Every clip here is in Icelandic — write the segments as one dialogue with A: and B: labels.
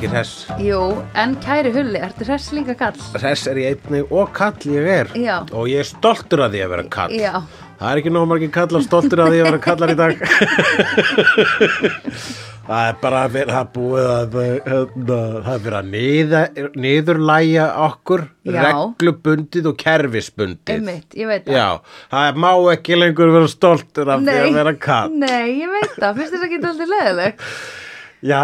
A: Eh,
B: en kæri hulli, ertu hresslingakall?
A: Þess er ég einni og kall ég er
B: Já.
A: og ég er stoltur að því að vera kall
B: Já.
A: Það er ekki nóg margir kallar stoltur að því að vera kallar í dag Það er bara að vera að búið að hérna, það er verið að niða- niðurlægja okkur
B: Já.
A: reglubundið og kerfisbundið
B: Einmitt, ég veit það.
A: Já, það má ekki lengur vera stoltur af því að vera kall
B: Nei, ég veit það, finnst þér það ekki alltaf leðileg?
A: Já,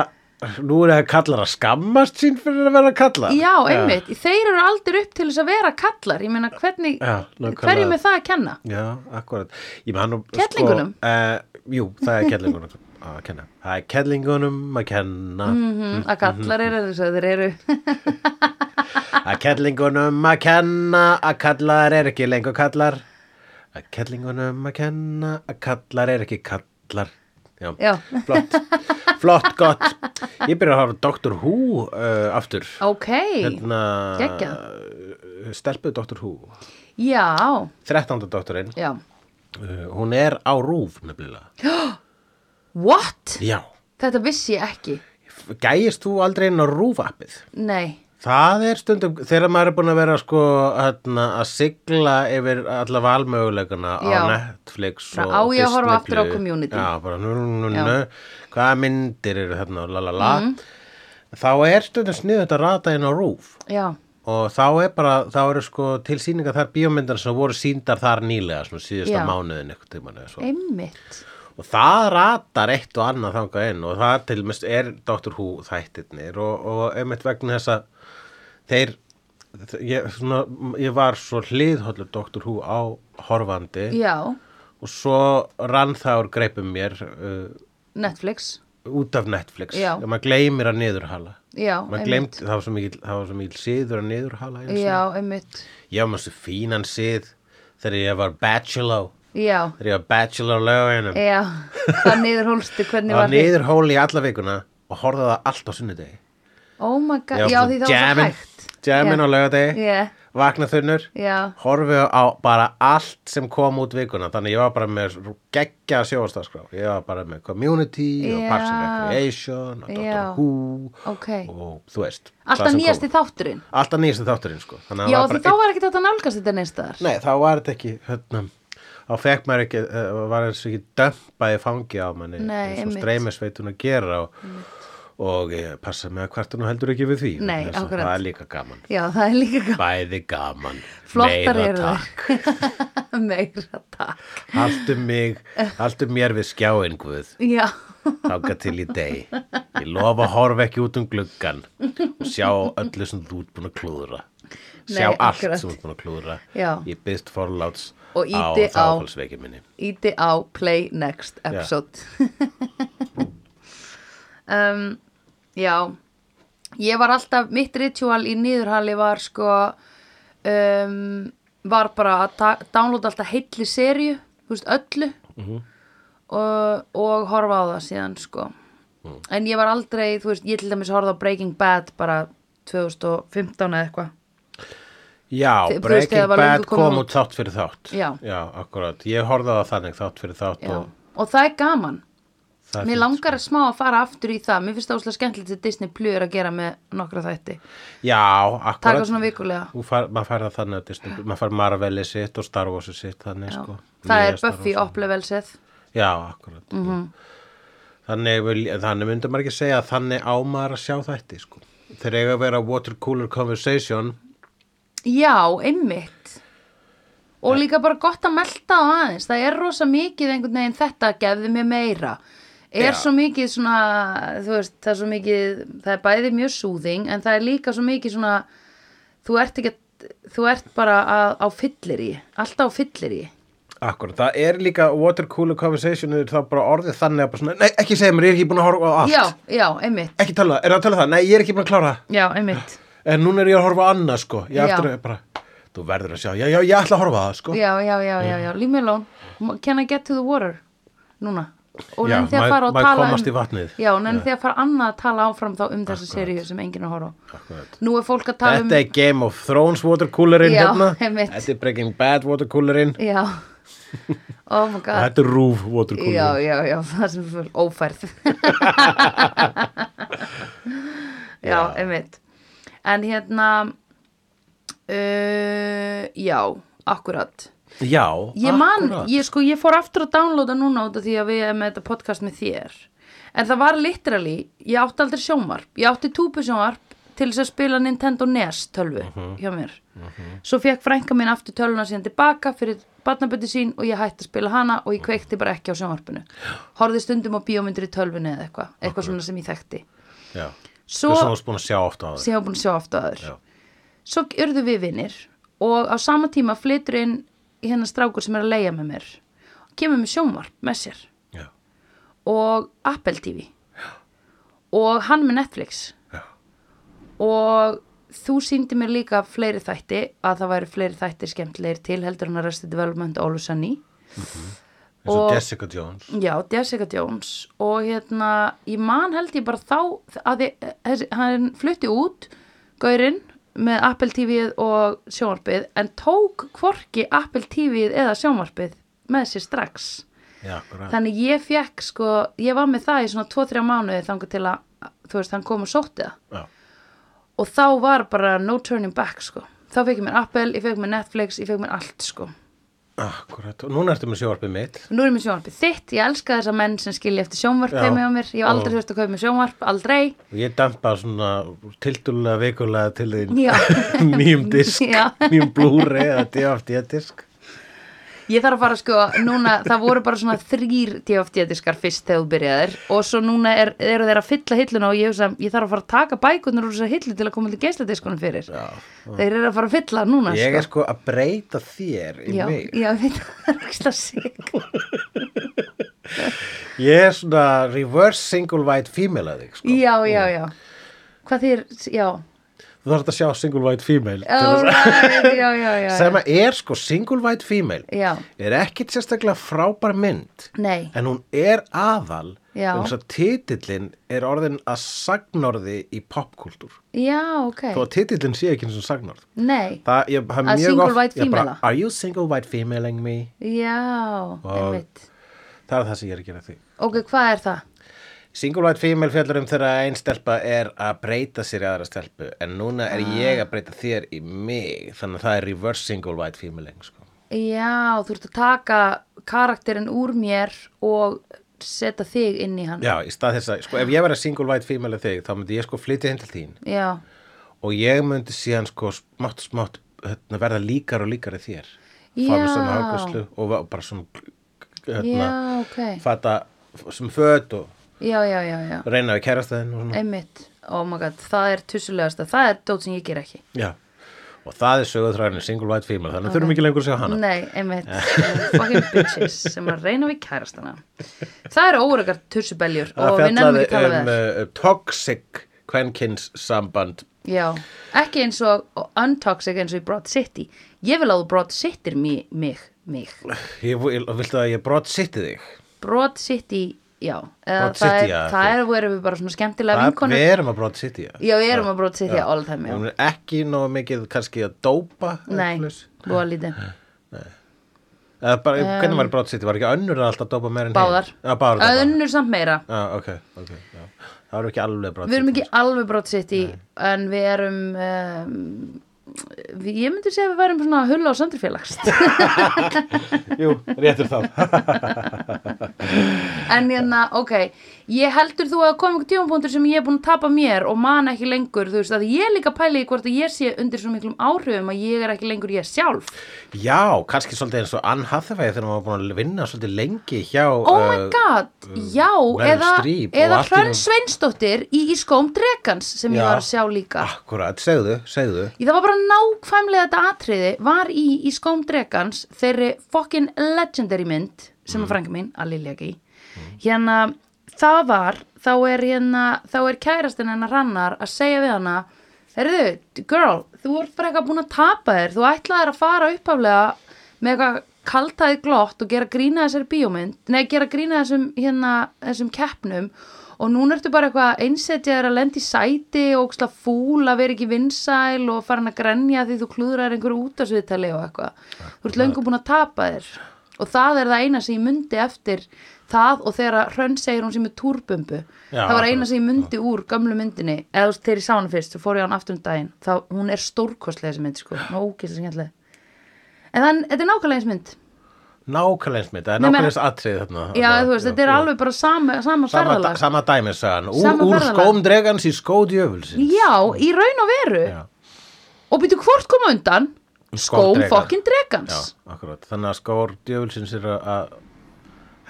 A: nú er það kallar að skammast sín fyrir að vera kallar
B: Já, einmitt, þeir eru aldrei upp til þess að vera kallar, ég meina hvernig,
A: Já, nákvæmlega.
B: hverjum er það að kenna?
A: Já, akkurat. Ég man nú...
B: Kerlingunum?
A: Sko, uh, jú, það er kellingunum að kenna. Það er kellingunum að kenna.
B: Mm, að kallar
A: mhm.
B: eru þess að þeir eru,
A: Að kellingunum að kenna að kallar er ekki lengur kallar. Að kellingunum að kenna að kallar er ekki kallar. Já,
B: já,
A: flott. Flott, gott. Ég byrja að hafa Dr. Who uh, aftur.
B: ok,
A: Hérna, stelpuð Dr. Who.
B: já,
A: 13. doktorinn.
B: já,
A: Uh, hún er á rúf nefnilega.
B: what?
A: Já.
B: Þetta vissi ég ekki,
A: gæjist þú aldrei inn á rúfappið?
B: nei,
A: Það er stundum, þegar maður er búin að vera sko hérna, að sigla yfir alla valmöguleikana á
B: Já.
A: Netflix
B: Bara
A: og
B: á ég að horfa
A: Disney
B: aftur á
A: Plus.
B: Community.
A: Já, bara nú, nú, nú,
B: Já. Mhm.
A: nú, hvaða myndir eru þarna og la la la. Þá er stundum sniðut að rata inn á rúf
B: já,
A: og þá er bara, þá eru sko til síninga þar bíómyndar sem voru síndar þar nýlega, svona síðasta
B: Já.
A: mánuðin eitthvað tímann eða svo.
B: einmitt,
A: Og það ratar eitt og annað þangað inn og það til mest er Dr. Who þættirnir og, og einmitt vegna þess að þeir, þ- ég, svona, ég var svo hliðhóllur Dr. Who á horfandi
B: já,
A: og svo rann það úr greipum mér uh,
B: Netflix,
A: út af Netflix.
B: Já.
A: Og maður gleymir að niðurhala.
B: já,
A: Maður gleymd, það var svo mikil, það var svo mikil siður að niðurhala. einu sinni.
B: já, einmitt,
A: Ég var maður svo fínan sið þegar ég var bachelor,
B: já,
A: þegar ég var bachelor löginu.
B: já, það niður hólstu, hvernig
A: Það var
B: var þið?
A: niður hóli í alla vikuna og horfði á það allt á sunnudegi.
B: Oh my god, já, því það var svo hægt.
A: Jamin á laugardegi,
B: Já,
A: vakna þunnur,
B: já,
A: horfið á bara allt sem kom út vikuna. Þannig ég var bara með geggja sjóðastaskrá. Ég var bara með Community og Já. Parks and Recreation og Doctor
B: Já.
A: Who
B: ok.
A: og þú veist. það
B: Alltaf
A: sem kom.
B: nýjasti þátturinn.
A: Alltaf nýjasti þátturinn sko. Þannig að
B: Já,
A: það bara
B: því þá var ekki þetta nálgast þetta neinstæðar.
A: Nei, þá var þetta ekki, hérna, þá fekk maður ekki, uh, var eins og ekki dömpaði fangi á manni,
B: Nei,
A: eins og
B: einmitt.
A: streymisveitun að gera og, og ég passa mig að hvart hún heldur ekki við því.
B: Nei,
A: vegna þess að
B: akkurat.
A: Það er líka gaman,
B: Já, það er líka gaman.
A: bæði gaman,
B: Flottar
A: meira
B: eru þær.
A: takk,
B: Meira takk.
A: haldu mig, haldu mér við skjáin guð,
B: Já,
A: þáka til í deg, ég lofa að horfa ekki út um gluggan og sjá öllu sem þú ert búin að klúðra. Sjá
B: Nei,
A: allt
B: akkurat.
A: sem þú ert búin að klúðra
B: Já.
A: Ég byggst forláts
B: Og
A: á
B: ýti á-
A: þáfalsveiki minni
B: íti á play next episode. um, já, ég var alltaf, mitt ritual í nýðurhali var sko, um, var bara að ta- downloada alltaf heilli serju, þú veist, öllu. og, og horfa á það síðan sko en ég var aldrei, þú veist, ég til dæmis horfði á Breaking Bad bara 2015 eða eitthvað
A: Já,
B: Þi- þú veist,
A: Breaking
B: þegar var
A: Bad
B: löngu komið
A: kom
B: út.
A: út þátt fyrir þátt
B: Já.
A: akkurat, ég horfði á það þannig þátt fyrir þátt
B: Já.
A: og
B: og það er gaman
A: það er
B: mér
A: fínt,
B: langar smá að fara aftur í það mér finnst það óslega skemmtilegt sem Disney Plus er að gera með nokkra þætti,
A: sko. Já, akkurat
B: taka svona vikulega
A: Þú far, maður fær það þannig að Disney, maður fær Marveli sitt og Star Wars sitt þannig
B: Já.
A: sko
B: það
A: Nýja
B: er
A: Star
B: Buffy Mhm.
A: Wars.
B: oplevelsið
A: Já, akkurat mm -hmm. þannig, vil- þannig myndum maður ekki segja að þannig á maður að sjá þætti sko Þeir eiga að vera water cooler conversation
B: já, einmitt og líka bara gott að melta á aðeins það er rosa mikið einhvern veginn þetta gefði mér meira er
A: Já.
B: svo mikið svona þú veist, það er svo mikið það er bæði mjög súðing en það er líka svo mikið svona þú ert ekki að, þú ert bara að, á fyllir í alltaf á fyllir í
A: Akkurat, það er líka water cooler conversation er þá bara orðið þannig að bara svona, nei, ekki segja mér, ég er ekki búin að horfa á allt
B: já, já, einmitt,
A: ekki tala, er það að tala það? Nei, ég er ekki búin að klára það.
B: já, einmitt
A: En núna er ég að horfa á annað, sko. Ég
B: Já.
A: eftir að bara, þú verður að sjá, já, já, ég ætla að horfa á það, sko.
B: já, já, já, já, já, leave me alone can I get to the water núna og
A: Já,
B: nenni því að
A: maður-
B: fara og
A: maður
B: tala um-
A: komast í vatnið.
B: já, nenni því að fara annað að tala áfram þá um þessa seríu sem enginn er að horfa á
A: Akkurat.
B: nú er fólk að tala um
A: Þetta er Game of Thrones watercoolerinn
B: Já,
A: hérna.
B: einmitt.
A: Þetta er Breaking Bad watercoolerinn.
B: um- Já, oh my god
A: Þetta er Roof watercoolerinn.
B: Já, já, já, það sem fyrir ófærð Já, einmitt en hérna uh, já, akkurat
A: Já,
B: ég man,
A: akkúrat.
B: ég sko, ég fór aftur að downloada núna út af því að við erum með þetta podcast með þér en það var literally ég átti aldrei sjónvarp, ég átti túpusjónvarp til þess að spila Nintendo NES tölvu hjá mér svo fekk frænka mín aftur tölvuna síðan tilbaka fyrir barnaböti sín og ég hætti að spila hana og ég kveikti bara ekki á sjónvarpinu horfði stundum á bíómyndir í tölvunni eða eitthvað eitthvað svona sem ég þekkti
A: Já,
B: Svo-
A: Þú varst búin að sjá ofta á það
B: sem ég hafa búin að sjá ofta aður
A: Já.
B: svo urðu við vinnir og á sama tíma flytur inn hérna strákur sem er að leia með mér kemur með sjónvarp með sér
A: Já,
B: og Apple TV og hann með Netflix
A: já,
B: og þú síndi mér líka fleiri þætti að það væri fleiri þættir skemmtilegir til heldur hann að resti development Ólu Sanni
A: Mhm. eins og
B: Og-
A: Jessica Jones
B: Já, Jessica Jones og hérna, ég man held ég bara þá að ég, þessi- hann flutti út gaurinn með Apple TV-ið og sjónvarpið en tók hvorki Apple TV-ið eða sjónvarpið með sér strax
A: Já, akkurat
B: þannig ég fekk sko, ég var með það í svona 2-3 mánuði þangar til að þú veist, hann kom og sótti það
A: Já,
B: og þá var bara no turning back sko, þá fekk ég mér Apple, ég fekk mér Netflix, ég fekk mér allt sko
A: akkurat, og núna ertu með sjóarpið mitt
B: Nú erum við sjónvarpið þitt, ég elska þess að menn sem skilja eftir sjónvarp
A: Já.
B: heimi á mér, ég hef aldrei
A: Já.
B: þurft að kaupa mér sjónvarp, aldrei.
A: og ég dampa svona tildulega vikulega til þín
B: Já.
A: nýjum disk,
B: Já.
A: nýjum blúri eða DFD disk
B: Ég þarf að fara sko, núna, það voru bara svona þrýr DFD-diskar fyrst þegar þú byrjaðir og svo núna er, eru þeir að fylla hilluna og ég, hugsa, ég þarf að fara að taka bækurnar úr þessar hillu til að koma til geisladiskunum fyrir.
A: Já.
B: Þeir eru að fara að fylla núna
A: Ég er sko að breyta þér í
B: Já,
A: mig
B: já, ég veit það er ekki það sig.
A: Ég er svona reverse single white female að þig sko.
B: Já, já, já. Hvað þýr, já.
A: Þú þarf að sjá single white female til
B: All
A: þess að-
B: right, já, já, já.
A: sem að er sko single white female
B: Já.
A: er ekkit sérstaklega frábær mynd
B: Nei,
A: en hún er aðal
B: Já.
A: vegna þess að titillin er orðin að sagnorði í popkultúr
B: já, ok.
A: þó að titillin sé ekki eins og sagnorð
B: Nei,
A: Það, ég, það er
B: Að
A: mjög
B: single
A: oft-
B: white
A: ég
B: female-a?
A: bara, Are you single white femaling me?
B: já, einmitt.
A: Það er það sem ég er að gera því
B: Ok, hvað er það?
A: Single white female fjallur um þegar ein stelpa er að breyta sér í aðra stelpu en núna er ég að breyta þér í mig þannig að það er reverse single white femaling sko.
B: Já, þú ert að taka karakterin úr mér og setja þig inn í hann.
A: Já, í stað þess að, sko, ef ég verið single white female af þig, þá myndi ég sko flytja inn til þín
B: Já,
A: og ég myndi síðan sko smátt, og smátt hérna, verða líkar og líkari þér
B: Já.
A: fara sem hafgjörslu og va- bara sem hérna,
B: Já, ok.
A: fata sem föt og
B: já, já, já, já.
A: reyna við kærastæðin og svona
B: Einmitt, oh my god, það er tussulegasta, það er dót sem ég ger ekki.
A: Já. og það er sögurþræðin single white female þannig þurfum ekki lengur að sjá hana
B: Nei, einmitt, fucking bitches sem að reyna við kærastana. Það eru óregar tussubeljur og
A: það
B: við nefnum
A: fjallaði
B: ekki að tala
A: um
B: við þær.
A: uh, toxic kvenkins samband
B: Já, ekki eins og og untoxic eins og í Broad City. Ég vil að þú Broad City mig, mig, mig.
A: ég vil- viltu að ég brot sitti þig
B: Broad City, já. Eða
A: Broad
B: það
A: City,
B: er,
A: já,
B: Það
A: þú-
B: er, verðum við bara svona skemmtilega
A: Það-
B: vinkonur.
A: við erum að brot sitti
B: Já, við erum að Broad City all the time, já.
A: hún er ekki nóg mikið kannski að dópa eða
B: Nei,
A: svoleiðis.
B: búa lítið.
A: Eða bara, hvernig var brot sitti, var ekki önnur að alltaf dópa meir en
B: Um, Báðar.
A: hinn? Já, báðar dópa.
B: Önnur samt meira.
A: Já, ok, ok, já. það eru ekki alveg brot
B: Við erum ekki alveg Broad City, en við erum... Um, við- ég myndi segja að við værum svona hulla og söndurfélags.
A: jú, réttur það
B: en hérna, ok, ég heldur þú að koma einhver tímapunktur sem ég er búin að tapa mér og man ekki lengur, þú veist, að ég er líka pæli í hvort að ég sé undir svo miklum áhrifum að ég er ekki lengur ég sjálf.
A: já, kannski svolítið eins og Ann Hathaway þegar hún var búin að vinna svolítið lengi hjá
B: Oh my
A: uh,
B: god, já,
A: Meryl
B: eða,
A: Streep og
B: eða
A: allt í
B: Hrönn
A: einu-
B: Sveinsdóttir í Ískóm Drekans sem
A: Já. Ah.
B: ég var að sjá líka.
A: akkurat, segðu, segðu
B: Ég, það var bara nákvæmlega þetta atriði var í Ískóm Drekans þeirri fokkin legendary mynd sem
A: Mm.
B: að frænka mín, að Lilja ekki, hérna, það var, þá er hérna, þá er kærastinn hennar rannar að segja við hana, heyrðu, girl, þú ert bara eitthvað búin að tapa þér, þú ætlaðir að fara upphaflega með eitthvað kaltaði glott og gera grína þessari bíómynd, nei, gera grína þessum, hérna, þessum keppnum og núna ertu bara eitthvað einsetjaður að lenda í sæti og óksla fúl að vera ekki vinsæl og farin að grenja því þú klúðrar einhverju út af sviðtali og eitthvað. Þú ert löngu búin að tapa þér. og það er það eina sem ég myndi eftir það og þegar að Hrönn segir hún sem er túrbumbu
A: Já,
B: það var eina
A: akkurat.
B: sem ég myndi úr gamlu myndinni eða þú veist, þegar ég sá hana fyrst, svo fór ég á hana aftur um daginn þá, hún er stórkostlega þessi mynd sko, hún er ókist skemmtileg en þann, þetta er nákvæmlega eins mynd
A: nákvæmlega eins mitt, það er
B: Nei,
A: nákvæmlega
B: men-
A: eins atrið þarna
B: já, þú veist, þetta er alveg bara sama, sama
A: sama,
B: ferðalag
A: sama dæmisagan, úr,
B: Sama
A: úr
B: ferðalag.
A: skóm dregans í skó djöfulsins
B: já, í raun og veru
A: Já.
B: og byrju hvort koma undan skóm
A: drekans.
B: fokkin dregans
A: Já, akkurat, þannig að skór djöfulsins er að- að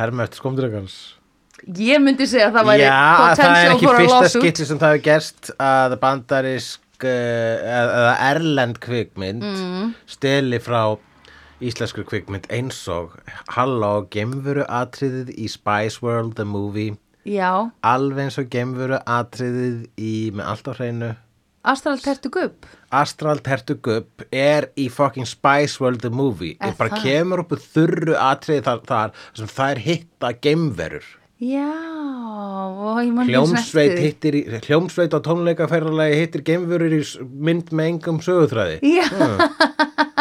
A: herma eftir skómdregans
B: ég myndi segja að það væri
A: Já, það er
B: potential
A: ekki
B: for a
A: fyrsta
B: lawsuit.
A: skipti sem það hefur gerst að bandarisk eh, eða eða erlend kvikmynd
B: Mm.
A: steli frá íslenskur kvikmynd eins og Halló, gemvuru atriðið í Spice World, the movie
B: Já,
A: alveg eins og gemvuru atriðið í, með allt á hreinu
B: Astral Tertu Gubb
A: Astral Tertu Gubb er í fucking Spice World the Movie
B: Er
A: er bara
B: það?
A: kemur upp úr þurru atriði þar, þar sem það er hitta geimverur
B: Já, og ég mann
A: hljómsveit, hittir, í- hljómsveit á tónleikaferðarlagi hittir geimverur í s- mynd með engum sögutræði
B: Já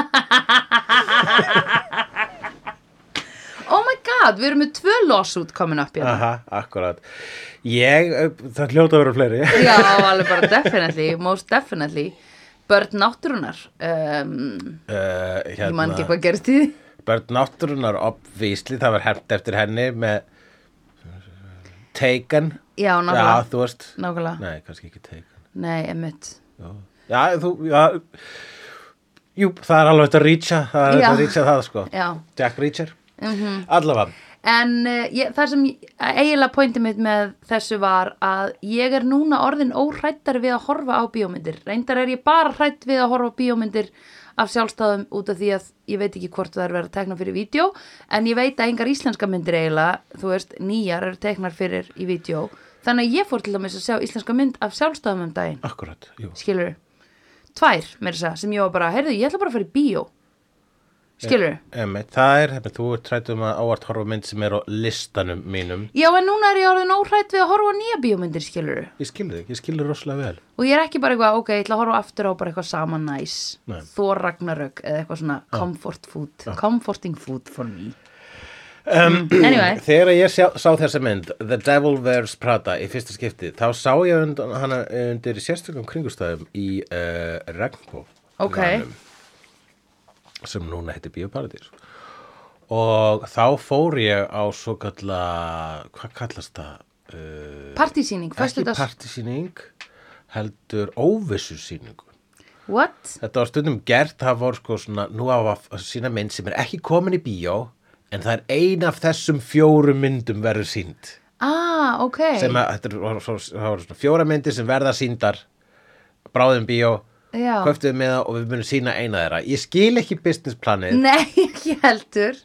B: Oh my god, við erum með tvö lawsuit komin upp hérna
A: Aha, akkurat Ég, ö, það hljóta að vera fleiri
B: Já, alveg bara definitely, most definitely Börn náttúrunar um,
A: uh,
B: Ég man ekki
A: hérna,
B: hvað gerist í því
A: Börn náttúrunar obvísli, það var hermt eftir henni með Taken
B: Já, nákvæmlega.
A: Já, þú veist
B: Nákvæmlega.
A: Nei, kannski ekki Taken
B: Nei, emitt
A: Já, já þú, já Jú, það er alveg hægt að reacha það er hægt að
B: Já.
A: reacha það sko
B: Já. Mhm.
A: Jack Reacher Allavega,
B: En uh, ég, það sem ég- eiginlega pointið mitt með þessu var að ég er núna orðin óhrættar við að horfa á bíómyndir. Reyndar er ég bara hrætt við að horfa á bíómyndir af sjálfstæðum út af því að ég veit ekki hvort það er verið að tekna fyrir vídeo en ég veit að engar íslenska myndir eiginlega, þú veist, nýjar eru teknar fyrir í vídeo. Þannig að ég fór til dæmis að sjá íslenska mynd af sjálfstæðum um daginn,
A: akkurat, jú
B: skilur Tvær, mér þess að, segja, sem ég var bara, heyrðu, ég ætla bara að fara í bíó. Skilur
A: Emmeit, það er, emmeit, þú trættum að ávart horfa á mynd sem er á listanum mínum
B: Já, en núna er ég orðin óhrætt við að horfa á nýja bíómyndir, skilur
A: Ég skilði þig, ég skilði rosalega vel
B: Og ég er ekki bara eitthvað, ok, ég ætla að horfa aftur á bara eitthvað sama næs.
A: Nei. Ah.
B: Þor Ragnarök eða eitthvað svona comfort food. Comforting food for me. Um, anyway,
A: Þegar ég sjá, sá þessa mynd, The Devil Wears Prada í fyrsta skipti, þá sá ég undan, hana undir sérstökum kringustæðum í uh, Regnbó
B: ok.
A: sem núna heitir Bíóparadís og þá fór ég á svo kalla hvað kallast það? Uh,
B: Partysýning, fyrstu
A: ekki partisýning heldur óvissusýningu
B: What?
A: Þetta var stundum gert, það voru sko svona, nú á að f- sýna mynd sem er ekki komin í bíó, en það er ein af þessum fjórum myndum verður sínd.
B: Ah, ok.
A: Sem að, þetta voru svo- það voru svona fjóra myndir sem verða síndar, bráðum bíó,
B: Já.
A: köftuðum með það og við munum sína eina þeirra. Ég skil ekki businessplanið,
B: Nei, ekki heldur.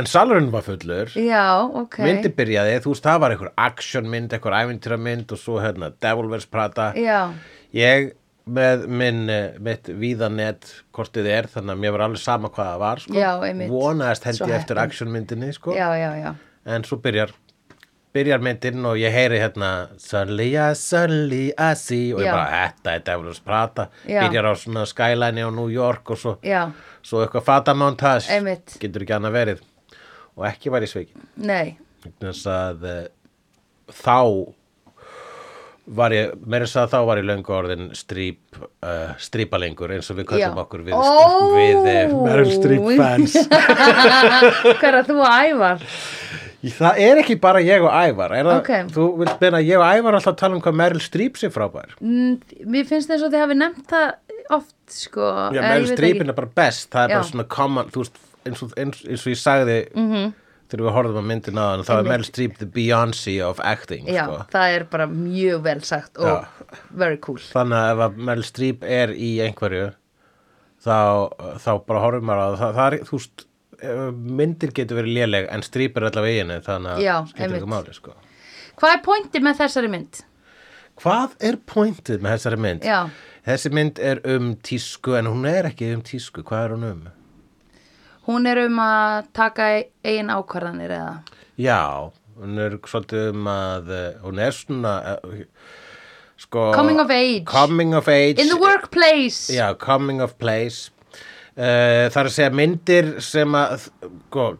A: en salurinn var fullur.
B: Já, ok.
A: Myndi byrjaði, þú veist, það var einhver actionmynd, einhver ævintýramynd og svo hérna, Devil Wears Prada.
B: Já,
A: Ég með minn, eh, mitt víðanett kortið er, þannig að mér var alveg sama hvað það var, sko.
B: Já, einmitt.
A: Vonaðist held
B: Svo
A: ég eftir
B: heppin.
A: actionmyndinni, sko.
B: já, já, já.
A: En svo byrjar, byrjar myndin og ég heyri hérna, suddenly I, suddenly I ah, see, og ég
B: Já.
A: bara, þetta er Devils Prata.
B: Já.
A: Byrjar á svona skyline á New York og svo,
B: Já,
A: svo eitthvað fatamontage.
B: Einmitt.
A: Getur ekki annað verið. Og ekki var ég sveikin
B: nei.
A: vegna þess að eh, þá var ég, meira þess að þá var ég löngu orðin stríp, uh, strípalengur eins og við kallum
B: Já.
A: okkur við,
B: Ó!
A: við eh, Meryl Streep fans
B: Hvað er að þú og ævar?
A: það er ekki bara ég og Ævar er það,
B: Ok.
A: þú vilt meina að ég og Ævar alltaf tala um hvað Meryl Streep sé frábær
B: Mm, Mér finnst eins og þið hafi nefnt það oft, sko.
A: Já,
B: Eh, ég
A: Meryl
B: veit
A: Streep
B: ekki.
A: er bara best það er
B: Já.
A: bara svona common, þú veist eins og, eins, eins og ég sagði -hmm. þegar við horfðum að myndin aðan þá er
B: Mhm. Einmitt.
A: Meryl Streep the Beyoncé of acting
B: Já,
A: sko.
B: það er bara mjög vel sagt og
A: Já.
B: very cool.
A: þannig að ef að Meryl Streep er í einhverju þá, þá bara horfum maður að það, það er, þú veist eh, myndir getur verið léleg en Streep er allavega í henni þannig
B: Já,
A: að skiptir
B: einmitt.
A: ekki máli sko.
B: Hvað er pointið með þessari mynd?
A: Hvað er pointið með þessari mynd?
B: Já.
A: Þessi mynd er um tísku en hún er ekki um tísku, hvað er hún um?
B: Hún er um að taka e- eigin ákvarðanir eða?
A: Já, hún er svolítið um að eh, hún er svona eh, sko,
B: Coming of age.
A: Coming of age
B: In the workplace!
A: Já, Eh, coming of place. Uh, það er að segja myndir sem að, sko,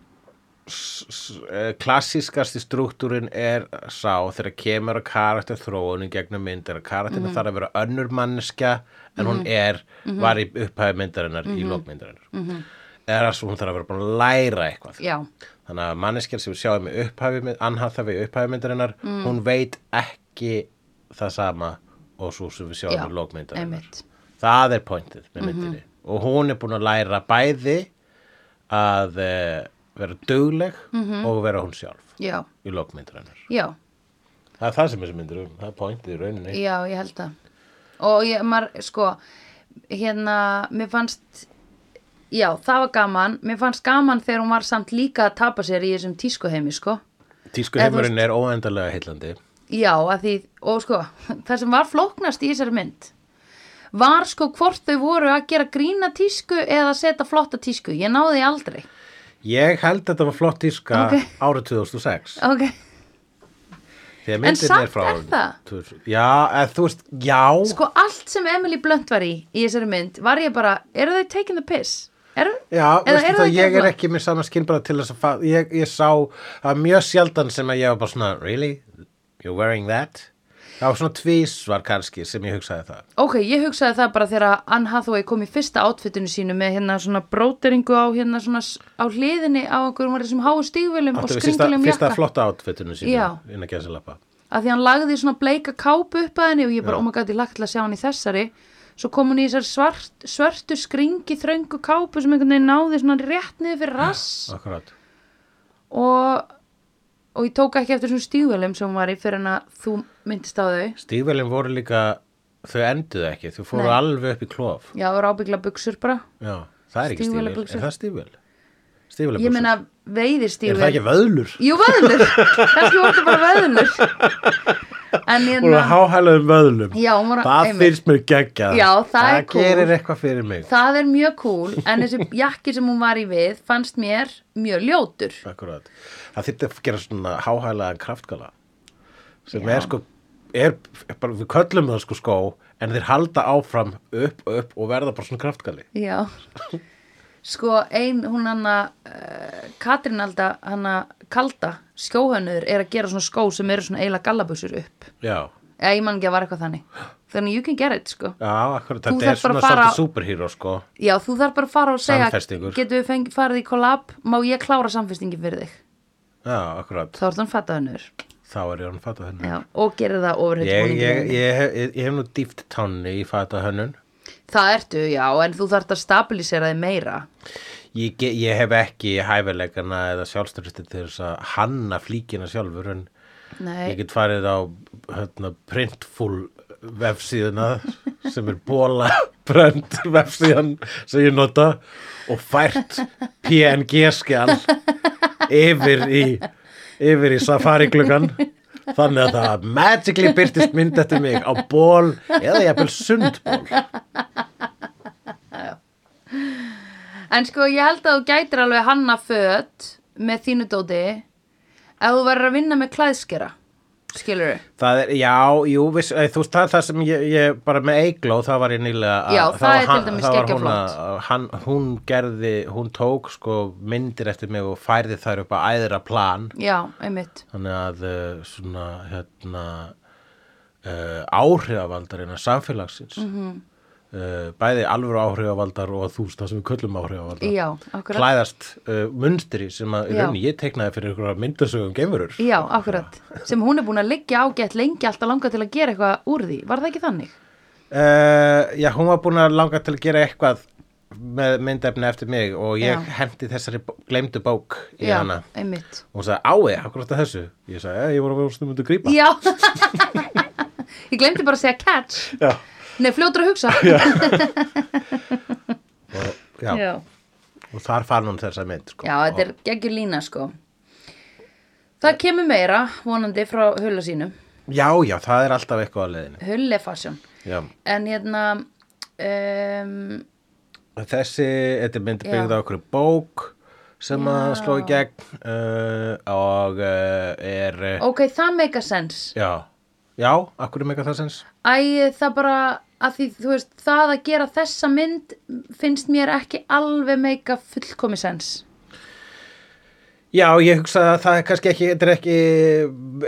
A: s- s- eh, klassískasti struktúrin er sá þegar kemur að karakter þróun í gegnum myndir að karakterin
B: Mhm.
A: þarf að vera önnur manneskja en hún er, var í upphæði myndarinnar í
B: Mhm.
A: lókmyndarinnar mm -hmm. eða svo hún þarf að vera búin að læra eitthvað
B: já,
A: þannig að manneskjan sem við sjáum í upphæfi mynd- anhatha við upphæfi myndarinnar
B: Mm.
A: hún veit ekki það sama og svo sem við sjáum
B: Já,
A: í lókmyndarinnar
B: einmitt.
A: það er pointið með myndinni og hún er búin að læra bæði að eh, vera dugleg og vera hún sjálf
B: já,
A: í lókmyndarinnar
B: já
A: það er það sem þessi myndir um, það er pointið í rauninni
B: Já, ég held það. Og ég, maður, sko, hérna, mér fannst, já, það var gaman. Mér fannst gaman þegar hún var samt líka að tapa sér í þessum tískuheimi, sko.
A: tískuheimurinn er óendalega heillandi
B: Já, að því, og sko, það sem var flóknast í þessari mynd var sko hvort þau voru að gera grína tísku eða setja flotta tísku. Ég náði því aldrei.
A: ég held að þetta var flott tíska
B: Ok.
A: árið 2006
B: Ok,
A: því að myndin
B: samt
A: er frá
B: er það.
A: 2000 já, eða þú veist, já
B: sko allt sem Emily Blunt var í í þessari mynd var ég bara, eru þau taking the piss? Eru,
A: Já,
B: eða
A: veistu
B: eru
A: það,
B: þau
A: ég
B: gera
A: er
B: flott?
A: ekki með sama skinnbara til þess að fa- ég, ég sá að mjög sjaldan sem að ég var bara svona, really? You're wearing that? Það var svona tvísvar kannski sem ég hugsaði það.
B: Ok, ég hugsaði það bara þegar að Anne Hathaway kom í fyrsta átfittinu sínu með hérna svona bróteringu á hérna svona s- á hliðinni á einhverjum var þessum háu stígvölum og
A: Áttu við fyrsta,
B: skringulegum
A: fyrsta
B: jakka
A: flotta átfittinu sínu
B: Já.
A: inn að gesalappa.
B: að því hann lagði svona bleika kápu upp að henni og ég bara,
A: Já.
B: oh my god, ég lagt til að sjá hann í þessari svo kom hún í þessar svart, svörtu skringi þröngu kápu sem einhvern veginn náði svona rétt niður fyrir rass
A: Akkurát.
B: og, og ég tók ekki eftir svona stígvölum sem hún var í fyrir en að þú myndist á þau
A: Stígvelin voru líka, þau enduðu ekki, þau fóru
B: Nei.
A: alveg upp í klof.
B: Já, það voru ábyggla buksur bara
A: Já, það er ekki stígvel.
B: Stígvélabuxur.
A: Er það stígvel? Stígvel
B: Ég meina veiðir
A: Er það ekki vöðlur?
B: Jú, vöðlur, kannski voru þetta bara vöðlur En hérna, ég
A: Hún var háhælaðum vöðlum.
B: Já, hún var-
A: það
B: einmitt.
A: finnst mér geggjað.
B: Já, það er cool.
A: gerir eitthvað fyrir mig.
B: það er mjög cool En þessi jakki sem hún var í við fannst mér mjög ljótur
A: Akkurat. Það þyrfti að gera svona háhælaðan kraftgala sem er sko er, er bara, við köllum það sko skó en þeir halda áfram upp og upp og verða bara svona kraftgali
B: Já Sko, ein, hún hanna uh, Katrín Alda, hanna Kalda, skjóhönnur er að gera svona skó sem eru svona eiginlega gallabuxur upp
A: Já,
B: Eða ég man ekki að var eitthvað þannig Þannig you can get it, sko
A: já akkurat,
B: Þú
A: þetta er
B: þarft bara
A: svona
B: að fara-
A: svolítið superhero sko
B: Já, þú þarf bara að fara og segja
A: Samfestingur.
B: Getum við fengi, farið í kollab, má ég klára samfestingin fyrir þig
A: Já, akkurat,
B: Þá er þann fattaðunur
A: þá er ég hann fata hönnun
B: Já, og gerir það
A: ég,
B: ofurhitt
A: ég, ég, hef- ég, ég hef nú dýft tánni í fata hönnun
B: Það ertu, já, en þú þarft að stabilisera þig meira.
A: ég, ge- ég hef ekki hæfileikana eða sjálfstyrsti til þess að hanna flíkina sjálfur en
B: Nei,
A: Ég get farið á hérna, printful vefsíðuna sem er bóla brend vefsíðan sem ég nota og fært PNG-skjál yfir í, yfir í safari-gluggan þannig að það magically byrtist mynd eftir mig á ból eða jafnvel sundból
B: en sko ég held að þú gætir alveg hanna föt með þínu dóti ef þú verður að vinna með klæðskera, skilur þau?
A: Það er, já, jú, viss, eh, þú veist, það er það sem ég, ég bara með Eigló, það var ég nýlega að-
B: Já,
A: þá
B: það
A: var
B: er
A: hann-
B: til dæmis
A: þá var hún
B: geggjaflott.
A: að- Hann, hún gerði, hún tók sko myndir eftir mig og færði þær upp að æðra plan,
B: Já, einmitt.
A: þannig að eh, svona, hérna, uh, áhrifavaldarina samfélagsins, mm
B: Mhm.
A: -hmm. bæði alvöru áhrifavaldar og þú veist það sem við köllum áhrifavaldar.
B: Já, akkurat.
A: Klæðast uh, munstri sem að, í
B: Já.
A: rauninni, ég teiknaði fyrir ykkur myndasögum geimurur.
B: Já, akkurat. Sem hún er búin að liggja ágætt lengi alltaf langa til að gera eitthvað úr því. Var það ekki þannig?
A: Uh, já, hún var búin að langa til að gera eitthvað með myndefni eftir mig og ég
B: Já.
A: hendi þessari bó- gleymdu bók í
B: já,
A: hana.
B: einmitt.
A: Hún sagði, ái, akkur átt að þessu? Ég sagði, "Eh, ég voru að vera stundum að grípa.
B: Já. ég glemdi bara að segja catch.
A: Já.
B: Nei, fljótur að hugsa.
A: Og, já, og þar fann hún þessa mynd. Sko.
B: Já, þetta er geggjur lína sko Það kemur meira vonandi frá hulla sínum
A: já, já, það er alltaf eitthvað á leiðinu.
B: Hull er fasjón
A: Já.
B: En hérna um,
A: Og Þessi, þetta er mynd
B: Já.
A: byggð á okkur bók sem að sló í gegn uh, og uh, er, uh,
B: Ok, það make a sense
A: já, já, akkur er mega það sens?
B: Æ, það bara að því, þú veist, það að gera þessa mynd finnst mér ekki alveg make a fullkomi sens
A: Já, ég hugsa að það er kannski ekki, þetta er ekki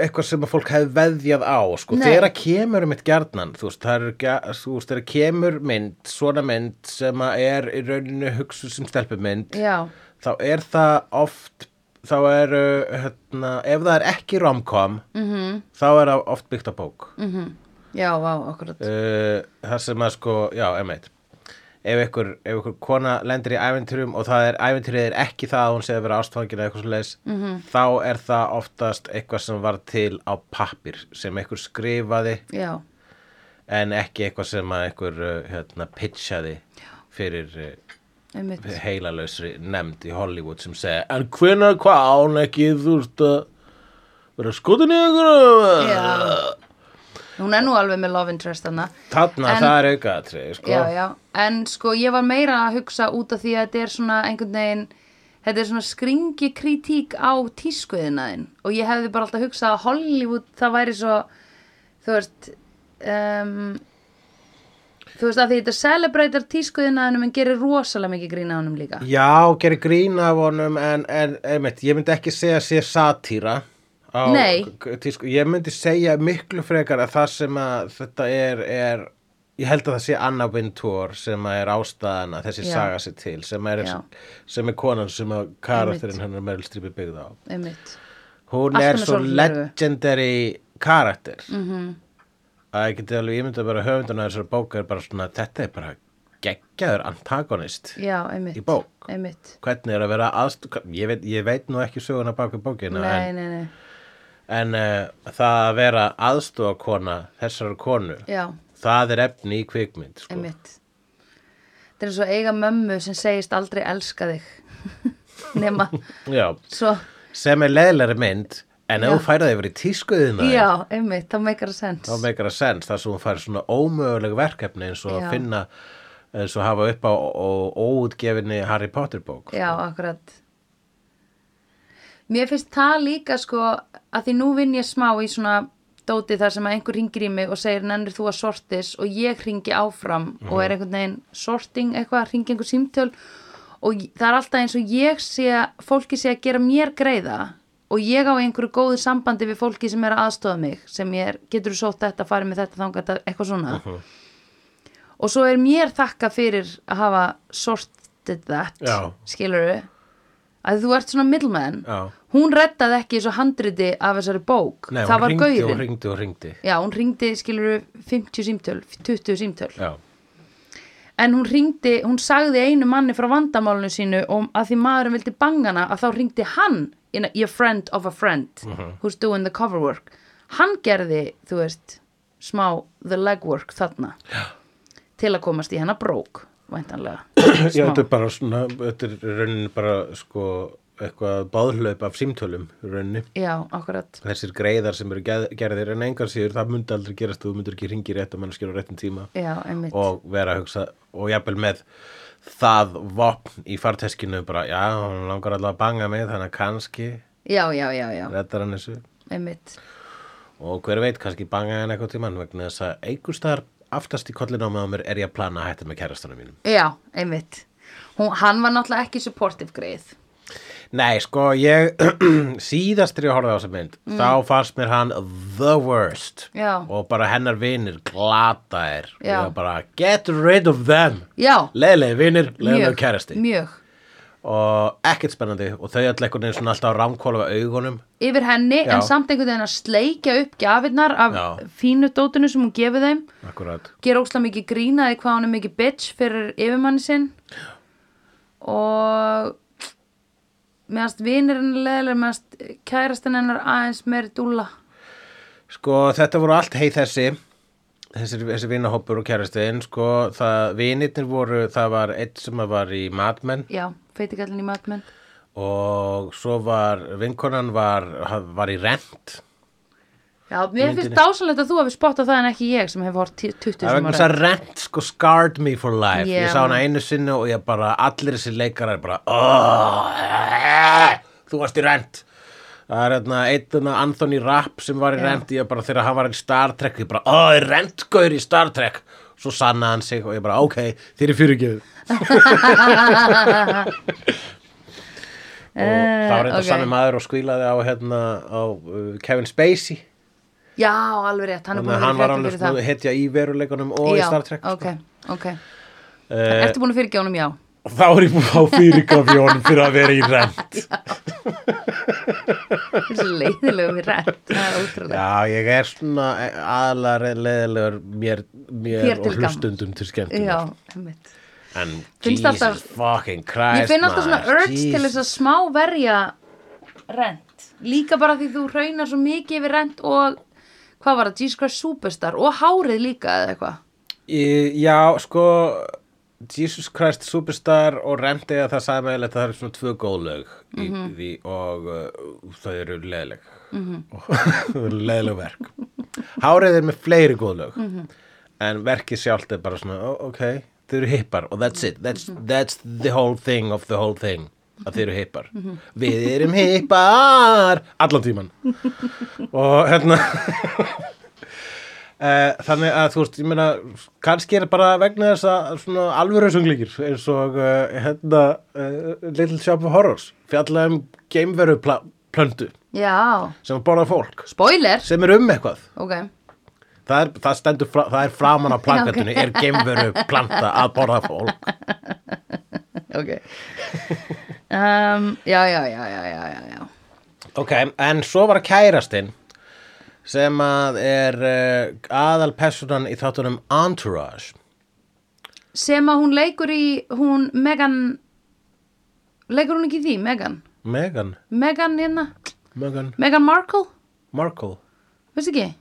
A: eitthvað sem að fólk hefði veðjað á, sko,
B: Nei.
A: þegar að kemur um eitt gjarnan, þú veist, það er, gja- þú veist, þegar kemur mynd, svona mynd sem að er í rauninu hugsu sem stelpumynd,
B: Já,
A: þá er það oft, þá er, hérna, ef það er ekki romcom, -hmm.
B: Mhm.
A: þá er það oft byggt á bók.
B: já, vá, akkurat
A: uh, það sem að sko, já, emeit ef ykkur, ef ykkur kona lendir í æventýrum og það er æventýrið er ekki það að hún sé að vera ástfangin eða eitthvað svo leis -hmm.
B: Mhm.
A: þá er það oftast eitthvað sem var til á pappir sem ykkur skrifaði
B: Já,
A: en ekki eitthvað sem að ykkur uh, hérna, pitchaði fyrir uh,
B: einmitt
A: heilalausri nefnd í Hollywood sem segja en hvenær hvað á hún ekki þú veist að vera skotin í ykkur
B: Já. Hún er nú alveg með love interest hana
A: þarna
B: En-
A: það er aukaðatrið sko.
B: Já, já, en sko ég var meira að hugsa út af því að þetta er svona einhvern veginn Þetta er svona skringi kritík á tískuðinaðin og ég hefði bara alltaf hugsað að Hollywood það væri svo, þú veist, um, þú veist að því þetta celebratar tískuðinaðinum en gerir rosalega mikið grín á honum líka.
A: Já, gerir grín af honum en, en einmitt, ég myndi ekki segja að sé satýra á
B: Nei.
A: k- tísku. Ég myndi segja miklu frekar að það sem að þetta er, er ég held að það sé Anna Wintour sem að er ástæðan að þessi
B: Já.
A: saga sér til sem er,
B: Já.
A: sem er konan sem að karakterinn hennar Meryl Streep er byggð á.
B: Einmitt.
A: Hún
B: Allt
A: er
B: með
A: svo
B: sólgleraugu.
A: legendary karakter
B: Mhm.
A: að ég geti alveg, ég myndi að vera höfunduna þessar bóka er bara svona, þetta er bara geggjaður antagonist
B: Já, einmitt.
A: Í bók.
B: Einmitt.
A: hvernig er að vera aðstu ég veit, ég veit nú ekki söguna bak við bókina
B: Nei,
A: en,
B: nei, nei.
A: en uh, það að vera aðstofakona þessar konu
B: Já.
A: það er efni í kvikmynd sko.
B: Einmitt. Þetta er eins og eiga mömmu sem segist aldrei elska þig. Nema,
A: já,
B: svo,
A: sem er leðilegri mynd en ef
B: Já.
A: þú færið yfir í tískuðina
B: já, einmitt, þá meikar það sens.
A: þá meikar það sens þar sem hún fær svona ómöguleg verkefni eins og
B: Já.
A: að finna eins og hafa upp á ó- óútgefinni Harry Potter bók
B: Já, akkurat. Mér finnst það líka, sko, að því nú vinn ég smá í svona dóti þar sem að einhver ringir í mig og segir nennir þú að sortis og ég ringi áfram
A: Mhm.
B: og er einhvern veginn sorting eitthvað, ringi einhver símtöl og ég- það er alltaf eins og ég sé fólki sé að gera mér greiða og ég á einhverju góðu sambandi við fólki sem er að aðstofa mig sem ég er, getur þú sótt þetta, farið með þetta þangat eitthvað svona og svo er mér þakka fyrir að hafa sorted that
A: Já.
B: skilurðu að þú ert svona middleman
A: Já.
B: hún rettaði ekki þessu handriti af þessari bók
A: Nei,
B: það
A: hún
B: var
A: ringdi og
B: gaurin
A: ringdi og ringdi
B: já, hún ringdi skilurðu 50 símtöl 20 símtöl
A: já,
B: en hún ringdi, hún sagði einu manni frá vandamálinu sínu og að því maðurinn vildi bangana að þá ringdi hann in a, your friend of a friend
A: Mhm.
B: who's doing the cover work hann gerði, þú veist smá the legwork þarna Já. til að komast í hennar brók væntanlega
A: Já, þetta er bara svona, þetta er í rauninni bara sko eitthvað báðhlaup af símtölum í rauninni.
B: Já, akkurat
A: Þessir greiðar sem eru geð- gerðir en engar síður, það myndi aldrei gerast þú myndir ekki ringi rétt að mannskjur á réttum tíma
B: Já, einmitt
A: og vera að hugsa og jafnvel með það vopn í farteskinu bara, já, hún langar allavega að banga mig þannig að kannski
B: Já, já, já, já,
A: réttar hann þessu
B: einmitt
A: og hver veit kannski banga hann eitthvað tímann vegna þess að einhvers staðar aftast í kollin á mig á mér er ég að plana að hætta með kærastanum mínum.
B: Já, einmitt Hún, Hann var náttúrulega ekki supportive greið
A: Nei, sko, ég síðast þegar ég horfði á þessa mynd, þá fannst mér hann the worst
B: Mm. Já.
A: og bara hennar vinir glata er og
B: Já.
A: ég var bara get rid of them
B: Já,
A: leiðlega vinir, leiðlega
B: mjög,
A: kærasti
B: mjög
A: og ekkert spennandi og þau öll einhvern veginn svona alltaf að rámkóla við augunum
B: yfir henni
A: Já.
B: en samt einhvern veginn að sleikja upp gafirnar af
A: Já.
B: fínu dótinu sem hún gefið þeim
A: akkurat
B: gera ósla mikið grínaði hvað hún er mikið bitch fyrir yfirmanni sinn og meðanst vinir hennar leðilega meðanst kærastan hennar aðeins meiri dúlla
A: Sko, þetta voru allt heið þessi þessi, þessi vinahópur og kærastiðin sko, það, vinirnir voru það var eitt sem að var í Mad Men
B: já, feitikallin í matmenn
A: og svo var, vinkonan var, var í Rent
B: já, mér finnst dásalegt að þú hafi spottað það en ekki ég sem hef hort 20
A: Það er
B: sem
A: vegna þess að Rent sko scarred me for life
B: Já.
A: Ég sá hana einu sinni og ég bara allir þessi leikarar bara oh, Þú varst í Rent Það er hérna einna Anthony Rapp sem var í Rent Ég bara þegar hann var í Star Trek Ég bara, oh, Rent gaur í Star Trek Svo sanna hann sig og ég bara, ok, þér er fyrirgefið og það var reynda
B: Eh, ok.
A: sami maður og skvílaði á, hérna, á uh, Kevin Spacey
B: Já, alveg rétt, hann
A: þannig
B: er búin
A: að
B: að
A: hann var
B: vera
A: alveg
B: fyrir það
A: svona hetja í veruleikunum og í
B: Já,
A: Star Trek
B: ok, ok
A: sko. uh,
B: Ertu búin að fyrirgefa honum já?
A: og þá er ég búin að fyrirgafi honum fyrir að vera í rent
B: Það er svo leiðilegum í rætt Það er ótrúlega
A: já ég er svona aðalega leðilegur mér,
B: Þér
A: mér
B: til
A: og
B: gamans.
A: hlustundum til
B: Já,
A: skemmtum
B: einmitt
A: en
B: Finnst
A: Jesus
B: alltaf-
A: fucking Christ
B: Ég finn alltaf svona
A: maður,
B: urge til
A: Jesus.
B: þess að smá verja rent. Líka bara því þú raunar svo mikið yfir rent og hvað var það, Jesus Christ Superstar og hárið líka eða eitthvað.
A: Í- Já, sko Jesus Christ Superstar og Rendi að það sagði meðlega að það eru svona tvö góð lög í, því og uh, þau eru leðileg mm -hmm. leðileg verk Hárið er með fleiri góð lög en verkið sjálft er bara svona "Ó, ok, þau eru hippar og that's it that's, that's the whole thing of the whole thing að þau eru hippar Við erum hippar allan tíman og hérna Eh, þannig að þú veist, ég meina kannski er bara vegna þess að svona alvöru sunglíkir eins og uh, hérna uh, Little Shop of Horrors fjalla um geimveru pla- plöntu
B: Já,
A: sem borða fólk
B: spoiler.
A: sem er um eitthvað
B: Ok,
A: það er, það stendur, fra, það er framan á plakatunni er geimveru planta að borða fólk
B: ok. Um, já, já, já, já, já, já, já.
A: ok, en svo var kærastinn sem að er uh, aðalpersonan í þáttunum Entourage
B: Sem að hún leikur í, hún Megan, leikur hún ekki í því, Megan?
A: Meghan,
B: Megan hérna?
A: Meghan
B: Megan Markle?
A: Markle
B: Veist ekki?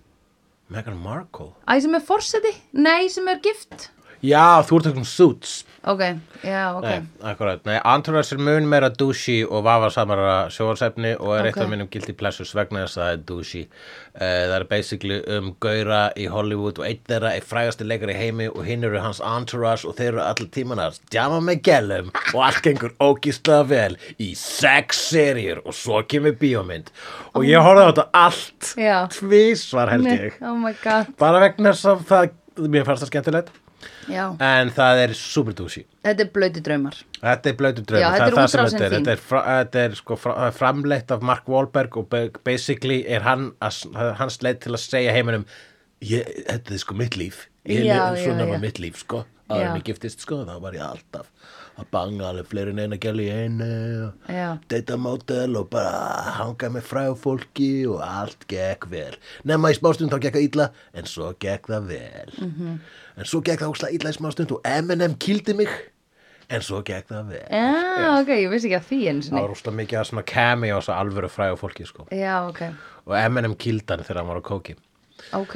A: Meghan Markle
B: Æ, sem er forseti? Nei, sem er gift?
A: Já, þú ert ekki um suits
B: Ok, já, ok.
A: Nei, akkurat, nei, Entourage er mun meira douchey og vafasamara sjóarsefni og er eitt
B: Ok.
A: af mínum guilty pleasures vegna þess að það er douchey uh, Það er basically um gaura í Hollywood og einn þeirra er frægasti leikari í heimi og hinn eru hans Entourage og þeir eru allir tíman að djama með gælum og allt gengur ógíslega vel í sex serjur og svo kemur bíómynd og ég horfði á þetta allt
B: Já.
A: tvísvar held ég
B: Oh my god,
A: bara vegna þess að það, mér fannst það skemmtilegt
B: já.
A: en það er super douchey
B: Þetta er blöti draumar.
A: Þetta er blöytur draumur,
B: Já, þetta
A: það er
B: er
A: það sem
B: útrásin
A: þetta er
B: þín.
A: Þetta er, fra, þetta er sko fra, framleitt af Mark Wahlberg og ba- basically er hann að, hans leið til að segja heiminum ég, þetta er sko mitt líf ég,
B: Já, já,
A: svona
B: já.
A: var mitt líf sko
B: Já.
A: áður en ég giftist sko, þá var ég alltaf að banga alveg fleiri en eina gæli í einu og
B: Já.
A: data model og bara hanga með fræg fólki og allt gekk vel nema í smástund þá gekk það illa en svo gekk það vel -hmm. en svo gekk það óslega illa í smástund og M&M kildi mig en svo gekk það vel
B: Já, ok, ég vissi ekki að því eins
A: það
B: og
A: var óslega mikið að svona kemi og svo alvöru fræg fólki sko
B: Já, ok,
A: og M&M kildi hann þegar hann var á kóki
B: ok.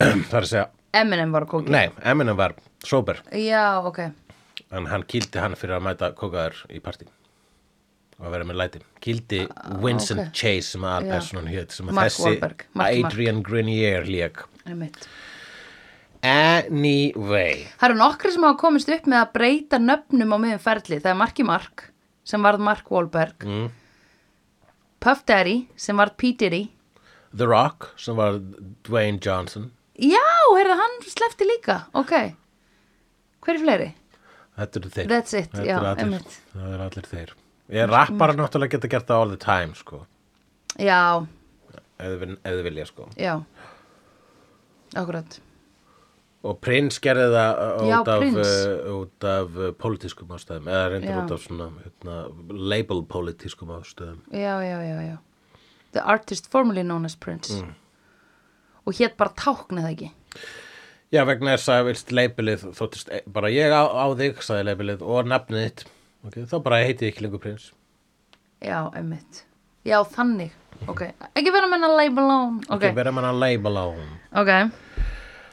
A: það er að segja,
B: Eminem var að kóki.
A: nei, M&M var sober
B: Já, ok.
A: en hann kýldi hann fyrir að mæta kókaður í partí og að vera með læti kýldi Vincent
B: Ah, ok.
A: Chase sem aðalpersonan hét sem að
B: Mark
A: þessi
B: Wahlberg. Mark, Mark.
A: Adrian Grenier lék
B: Það er mitt.
A: anyway
B: Það eru nokkri sem hafa komist upp með að breyta nöfnum á miðum ferli. Það er Marki Mark, sem varð Mark Wahlberg.
A: Mm.
B: Puff Daddy, sem varð P. Diddy.
A: The Rock sem var Dwayne Johnson
B: Já, heyrðu, hann slefti líka. Ok. Hver er fleiri?
A: þetta eru þeir
B: That's it,
A: Þetta
B: já,
A: eru allir,
B: einmitt.
A: það eru allir þeir ég rappar náttúrulega geta gert það all the time sko
B: Já,
A: ef þau vil- ef þau vilja sko
B: já. Akkurat.
A: og Prince gerði það uh,
B: Já,
A: út af,
B: Prince.
A: uh, út af uh, pólitískum ástæðum eða reyndar
B: Já.
A: út af svona hérna, label pólitískum ástæðum
B: Já, já, já, já. The artist formerly known as Prince. Og hétt bara tákna það ekki.
A: Já, vegna þess að vilst leipilið þóttist e- bara ég á, á þig, sagði leipilið og nafnið þitt, okay, þá bara heiti ég ekki lengur prins.
B: Já, emmitt. Já, þannig. Ok. Ekki vera að menna label on. Ok.
A: Okay. Verða mann að leipala á hún.
B: Ok.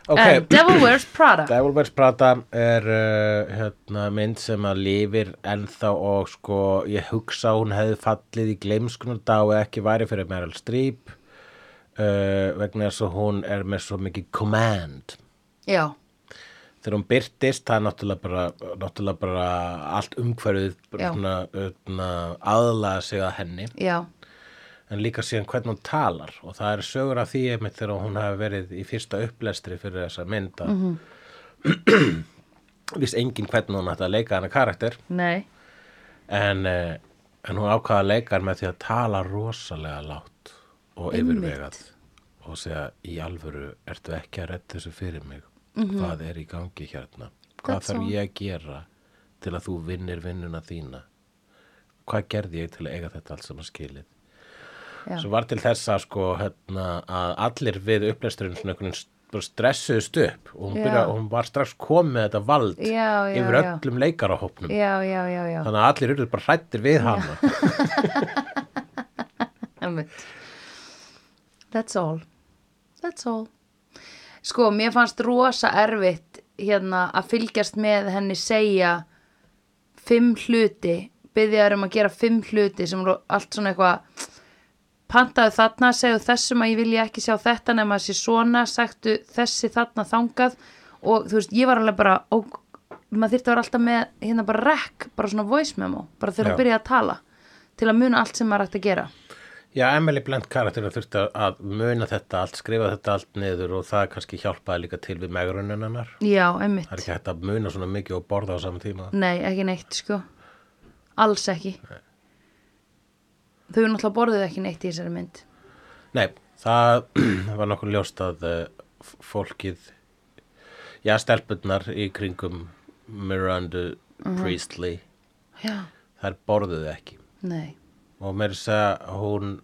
A: Ok,
B: En Devil Wears Prada.
A: Devilbergs Prata er uh, hérna, mynd sem að lifir ennþá og sko, ég hugsa að hún hefði fallið í gleimskunum dag og ekki væri fyrir Meryl Streep uh, vegna þess að hún er með svo mikið command.
B: Já.
A: þegar hún byrtist það er náttúrulega bara, náttúrulega bara allt umhverfið bara
B: Já.
A: svona, svona, aðlaða sig að henni
B: Já.
A: en líka síðan hvernig hún talar og það er sögur af því einmitt þegar hún hafi verið í fyrsta upplestri fyrir þessa mynda mm -hmm. enginn hvernig hún ætti að leika hana karakter
B: Nei.
A: en uh, en hún ákvaða leikar með því að tala rosalega látt og
B: Einmitt.
A: yfirvegað og segja í alvöru ertu ekki að retta þessu fyrir mig
B: Mhm.
A: hvað er í gangi hérna hvað
B: That's
A: þarf
B: all.
A: ég að gera til að þú vinnir vinnuna þína hvað gerði ég til að eiga þetta allt saman skilið
B: Já.
A: svo var til þess að sko hérna, að allir við upplæsturinn svona einhvern veginn bara stressuðust upp og hún,
B: Já.
A: byrja, hún var strax komið með þetta vald
B: Já, já,
A: yfir
B: já.
A: öllum leikarahópnum
B: já, já, já, já.
A: þannig að allir eru bara hrættir við hana
B: Einmitt. That's all. That's all. Sko, mér fannst rosa erfitt hérna að fylgjast með henni segja fimm hluti, byrjaður um að gera fimm hluti sem eru allt svona eitthvað pantaðu þarna, segðu þessum að ég vilja ekki sjá þetta nema þessi svona, sagtu þessi þarna þangað og þú veist, ég var alveg bara og maður þyrfti að vera alltaf með hérna bara rekk, bara svona voice memo bara þegar
A: Já.
B: hún byrjaði að tala til að muna allt sem maður ætti að gera
A: Já, Emily Blunt karakterinn þurfti að muna þetta allt, skrifa þetta allt niður og það kannski hjálpaði líka til við megruninn hennar.
B: Já, einmitt.
A: Það er ekki hægt að muna svona mikið og borða á saman tíma.
B: Nei, ekki neitt, sko. Alls ekki. Þau náttúrulega borðuðu ekki neitt í þessari mynd.
A: Nei, það var nokkuð ljóst að eh, f- fólkið, já, stelpunnar í kringum Miranda Priestley,
B: Já.
A: þær borðuðu ekki.
B: Nei.
A: og mér segja hún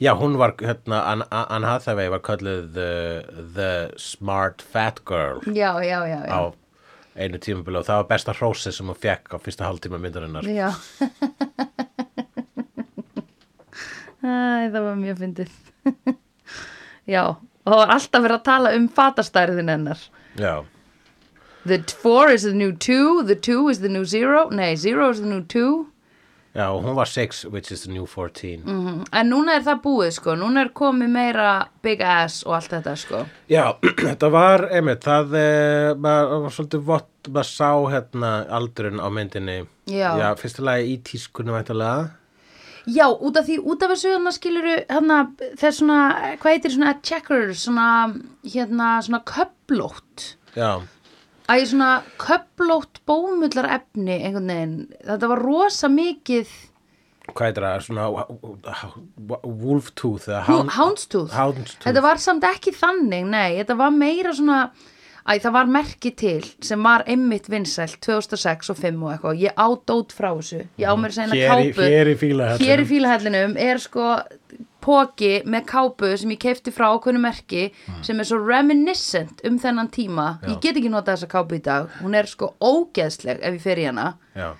A: já hún var hérna Ann- Ann Hathaway var kallið the, the smart fat girl
B: Já, já, já, já.
A: á einu tímabili og það var besta hrósi sem hún fekk á fyrsta hálftíma myndarinnar
B: Já. Æ, það var mjög fyndið. já, og það var alltaf verið að tala um fatastærðin hennar.
A: já,
B: The four is the new two, the two is the new zero. Nei, zero is the new two.
A: já og hún var 6 which is the new 14
B: Mhm. En núna er það búið, sko. Núna er komið meira big ass og allt þetta, sko.
A: já, þetta var einmitt, það eh, maður var svolítið vott, maður sá hérna aldurinn á myndinni
B: Já.
A: já fyrsta lagi í tískunum væntalega
B: Já, út af því, út af þessu hérna skiluru, hérna, það er svona, hvað heitir svona checkers, svona, hérna, svona köplótt.
A: já,
B: Æ, svona köplótt bómullar efni, einhvern veginn. Þetta var rosa mikið
A: hvað er það, svona wolf tooth eða
B: Hound,
A: hound-
B: houndstooth.
A: houndstooth.
B: Þetta var samt ekki þannig, nei, þetta var meira svona, æ, það var merki til sem var einmitt vinsælt 2006 og 5 og eitthvað. Ég á dót frá þessu, ég á mér að segna
A: Hér í-
B: kápu.
A: hér í fílahellinum.
B: Hér í fílahellinum er sko póki með kápu sem ég keipti frá ákveðnu merki sem er svo reminiscent um þennan tíma. Ég get ekki notað þessa kápu í dag, hún er sko ógeðsleg ef ég fer í hana,
A: Já.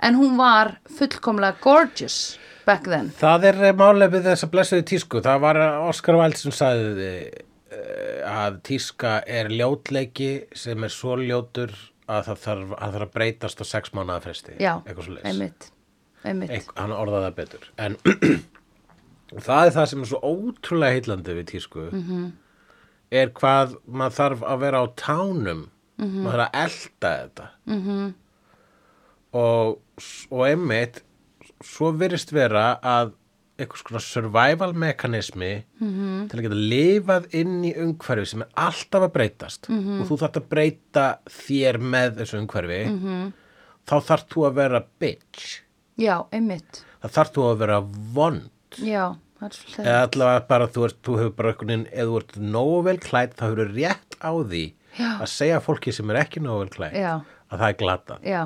B: en hún var fullkomlega gorgeous back then.
A: Það er eh, málefið þess að blessuðu tísku. Það var eh, Oscar Wilde sem sagði eh, að tíska er ljótleiki sem er svo ljótur að það þarf að, það þarf að breytast á sex mánuða fresti.
B: Já,
A: Eitthvað svo leis.
B: einmitt, einmitt.
A: Hann orðaði það betur. En það er það sem er svo ótrúlega heillandi við tísku. -hmm. Er hvað maður þarf að vera á tánum. -hmm. Maður þarf að elda þetta. og, og einmitt svo virðist vera að einhvers konar survival mekanismi -hmm. til að geta lifað inn í umhverfi sem er alltaf að breytast -hmm. og þú þarft að breyta þér með þessu umhverfi -hmm. þá þarft þú að vera bitch
B: Já, einmitt.
A: þá þarft þú að vera vond
B: Já, það er svolítið.
A: eða allavega bara þú, ert, þú hefur bara einhvern veginn eða þú ert nógu vel klætt þá hefur rétt á því
B: Já.
A: að segja fólki sem er ekki nógu vel klætt
B: Já.
A: að það er glatað
B: Já,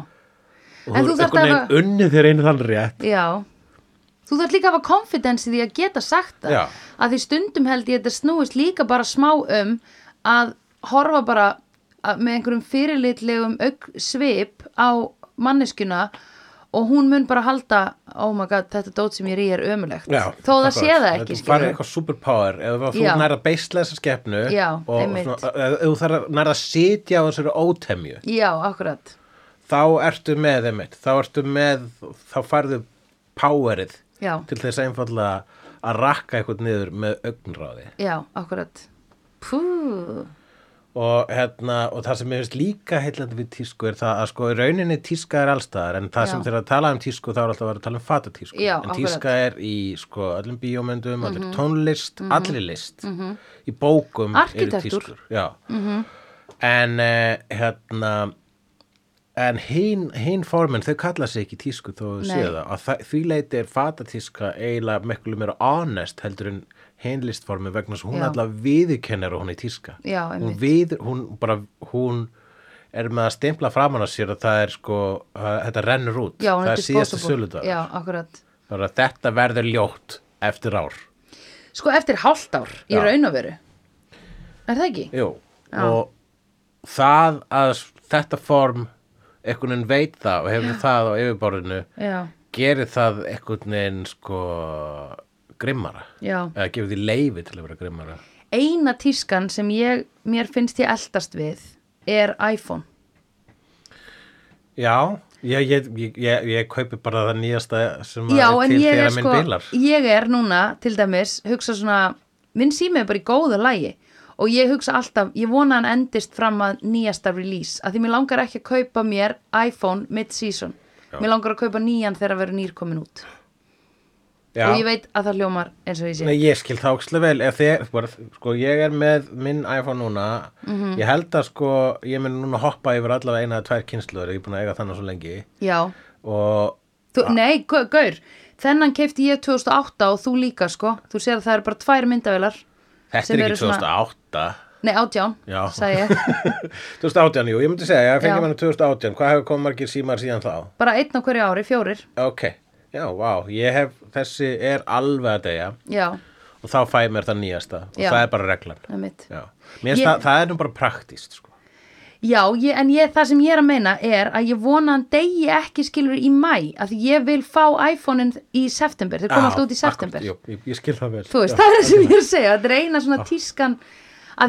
A: og
B: En
A: þú
B: þú
A: ert
B: þarft
A: einhvern
B: að-
A: veginn unnið þér einu þann rétt
B: já. Þú þarf líka að hafa confidence í því að geta sagt það.
A: Já.
B: Að því stundum held ég þetta snúist líka bara smá um að horfa bara að, með einhverjum fyrirlitlegum augn- svip á manneskuna og hún mun bara halda, oh my god, þetta dót sem ég er í er ömulegt.
A: Já,
B: Þó það sé það
A: Þú farir
B: ekki, skilur.
A: eitthvað superpower eða þú
B: Já.
A: nærð að beisla þessa skepnu
B: Já,
A: og
B: einmitt.
A: svona, eða þú þarf að nærð að sitja á þessari ótemju
B: Já, akkurat.
A: þá ertu með einmitt þá ertu með, þá færðu powerið
B: Já.
A: til þess einfallega að rakka eitthvað niður með augnráði
B: Já, akkurat. Pú,
A: og, hérna, og það sem ég finnst líka heillandi við tísku er það að sko í rauninni tíska er allstaðar en það
B: Já.
A: sem þeir eru að tala um tísku þá er alltaf að vera að tala um fatatísku
B: Já, Mhm.
A: en tíska er í sko öllum bíómyndum, allir tónlist, allir list í bókum
B: Arkitektúr.
A: eru tískur Já. en eh, hérna en hinn hin formin, þau kalla sig ekki tísku þó þau
B: Nei.
A: séu það, að það, því leiti er fatatíska eiginlega miklu meira honest heldur en hinn listformin vegna þess að hún
B: Já.
A: alltaf viðurkennir að hún er tíska
B: Já,
A: hún,
B: einmitt.
A: við, hún, bara, hún er með að stimpla framan að sér að það er sko, uh, þetta rennur út
B: Já, hún
A: það
B: er
A: er síðasta
B: disposable.
A: söludag
B: Já, akkurat.
A: bara þetta verður ljótt eftir ár
B: Sko eftir hálft ár í
A: Já.
B: raun og veru. Er það ekki?
A: Jú, og það að s- þetta form einhvern veginn veit það og hefur það á yfirborðinu
B: Já,
A: gerir það einhvern veginn sko grimmara
B: já.
A: eða gefur því leifi til að vera grimmara
B: Eina tískan sem ég, mér finnst ég eldast við er iPhone.
A: Já, ég, ég, ég, ég, ég kaupi bara það nýjasta sem að
B: Já,
A: er
B: en
A: til
B: ég er
A: þegar minn
B: sko,
A: bilar
B: ég er núna til dæmis, hugsa svona, minn sími er bara í góðu lægi og ég hugsa alltaf, ég vona hann endist fram að nýjasta release, að því mér langar ekki að kaupa mér iPhone mid-season.
A: Já.
B: Mér langar að kaupa nýjan þegar að vera nýr komin út.
A: Já.
B: Og ég veit að það hljómar eins og ég sé.
A: Nei, ég skil það ókslega vel ef þið, bara, sko, ég er með minn iPhone núna,
B: Mhm.
A: ég held að sko, ég mun núna hoppa yfir allavega eina eða tvær kynsluður, ég er búin að eiga þannig svo lengi
B: Já.
A: og
B: Þú, nei, gau- gaur, þennan keipti ég 2008 og þú líka, sko. Þú sér að það eru bara tvær myndavélar.
A: þetta
B: Sem
A: er
B: eru
A: ekki
B: svona-
A: 2008
B: Nei, átján,
A: Já.
B: sagði ég.
A: 2018, jú, ég myndi segja, ég
B: Já.
A: fengi mér 2018 hvað hefur komið margir símar síðan þá?
B: Bara einn á hverju ári, fjórir.
A: Ok, já, vá, ég hef þessi er alveg að deyja
B: Já,
A: og þá fæ ég mér það nýjasta og
B: Já.
A: það er bara reglan
B: það er mitt.
A: já. Mér finnst
B: Ég-
A: það, það er nú bara praktíst sko.
B: Já, ég, en ég, það sem ég er að meina er að ég vona hann degi ekki skilur í mæ, að því ég vil fá iPhone-in í september, þeir koma
A: Já,
B: alltaf út í september.
A: akkurat, jú, ég, ég skil það vel
B: Þú veist,
A: Já.
B: það er það sem ég er að segja, þetta er eina svona tískan að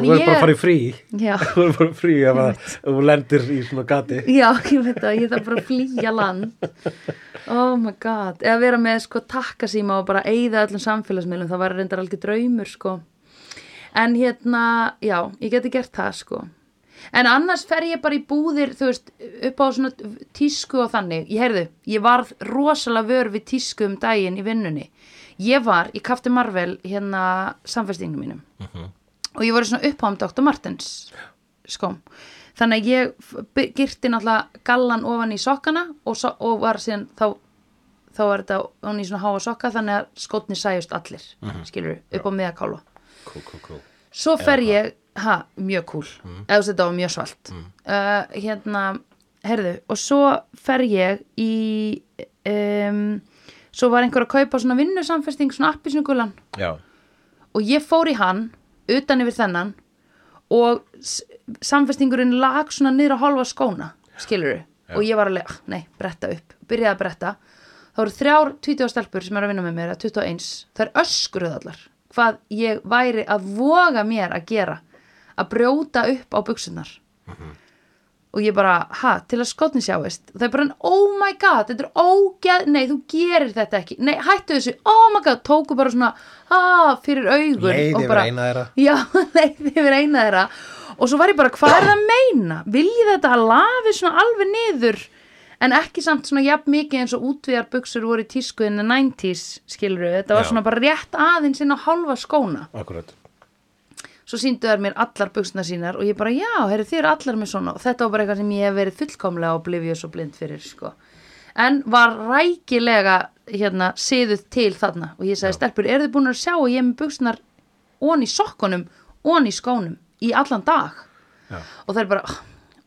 A: Þú verður
B: ég...
A: bara að fara í frí
B: Já.
A: Þú verður bara í frí ef að- ef þú lendir í svona gati
B: Já, ég veit það, ég þarf bara að flýja land Oh my god Eða vera með sko takkasíma og bara eyða öllum samfélagsmiðlum, það var reyndar algjör draumur sko En hérna, já, ég geti gert það sko En annars fer ég bara í búðir, þú veist, upp á svona tísku og þannig Ég heyrðu, ég varð rosalega vör við tísku um daginn í vinnunni Ég var í Kafti Marvel hérna samfélstingum mínum og ég var í svona uppháum Dr. Martens skóm þannig að ég f- by- girti náttúrulega gallan ofan í sokkana og, so og var síðan þá þá var þetta ofan í svona háa sokka þannig að skotni sæjust allir mm skilur upp á meðakála
A: Kú, kú, kú
B: svo fer ég, ha, mjög cool eða þú veist, þetta var mjög svalt uh, hérna, herðu og svo fer ég í um, svo var einhver að kaupa svona vinnusamfesting, svona appisnugulan
A: Já,
B: og ég fór í hann utan yfir þennan og s- samfestingurinn lag svona niður á halva skóna skilur og ég var alveg, "Ah, nei, bretta upp byrjaði að bretta þá eru þrjár 20 stelpur sem eru að vinna með mér eða 21, það er öskruðallar hvað ég væri að voga mér að gera að brjóta upp á buksunar og ég bara, ha, til að skotni sjáist og það er bara, oh my god, þetta er ógeð nei, þú gerir þetta ekki, nei, hættu þessu oh my god, tóku bara svona ah, fyrir augun
A: Leið
B: og
A: yfir
B: bara,
A: eina þeirra.
B: já, leið yfir eina þeirra og svo var ég bara, hvað er það að meina viljið þetta að lafi svona alveg niður en ekki samt svona jafn mikið eins og útvíjar buksur voru í tískuðinu 90s, skilur þetta var
A: Já.
B: svona bara rétt aðeins inn á hálfa skóna
A: akkurat
B: svo síndu þær mér allar buksna sínar og ég bara, já, herri, þið eru allar með svona og þetta var bara eitthvað sem ég hef verið fullkomlega oblivious og blind fyrir, sko en var rækilega hérna, siðuð til þarna og ég sagði, stelpur, eru þið búin að sjá að ég er með buksnar ón í sokkunum, ón í skónum í allan dag
A: Já.
B: og þær bara, "Ah,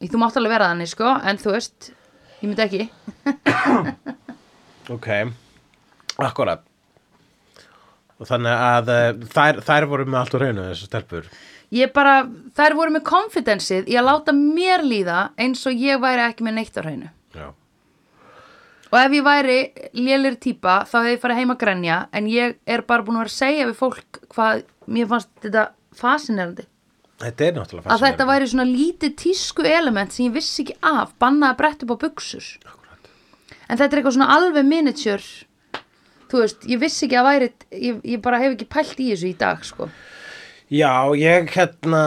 B: þú mátt alveg vera þannig, sko en þú veist, ég myndi ekki
A: Ok, akkurat Og þannig að eh, þær, þær voru með allt úr reynu þessu stelpur
B: ég bara, þær voru með konfidensið í að láta mér líða eins og ég væri ekki með neitt á hreinu
A: Já,
B: Og ef ég væri lélir típa þá hefði ég farið heim að grenja en ég er bara búin að vera að segja við fólk hvað mér fannst þetta fascinerandi.
A: þetta er náttúrulega
B: Að þetta
A: fascinerandi.
B: væri svona lítið tísku element sem ég vissi ekki af, bannað að bretta upp á buksur.
A: Akkúrat.
B: En þetta er eitthvað svona alveg miniature, þú veist, ég vissi ekki að væri, ég, ég bara hef ekki pælt í þessu í dag, sko.
A: Já, ég hérna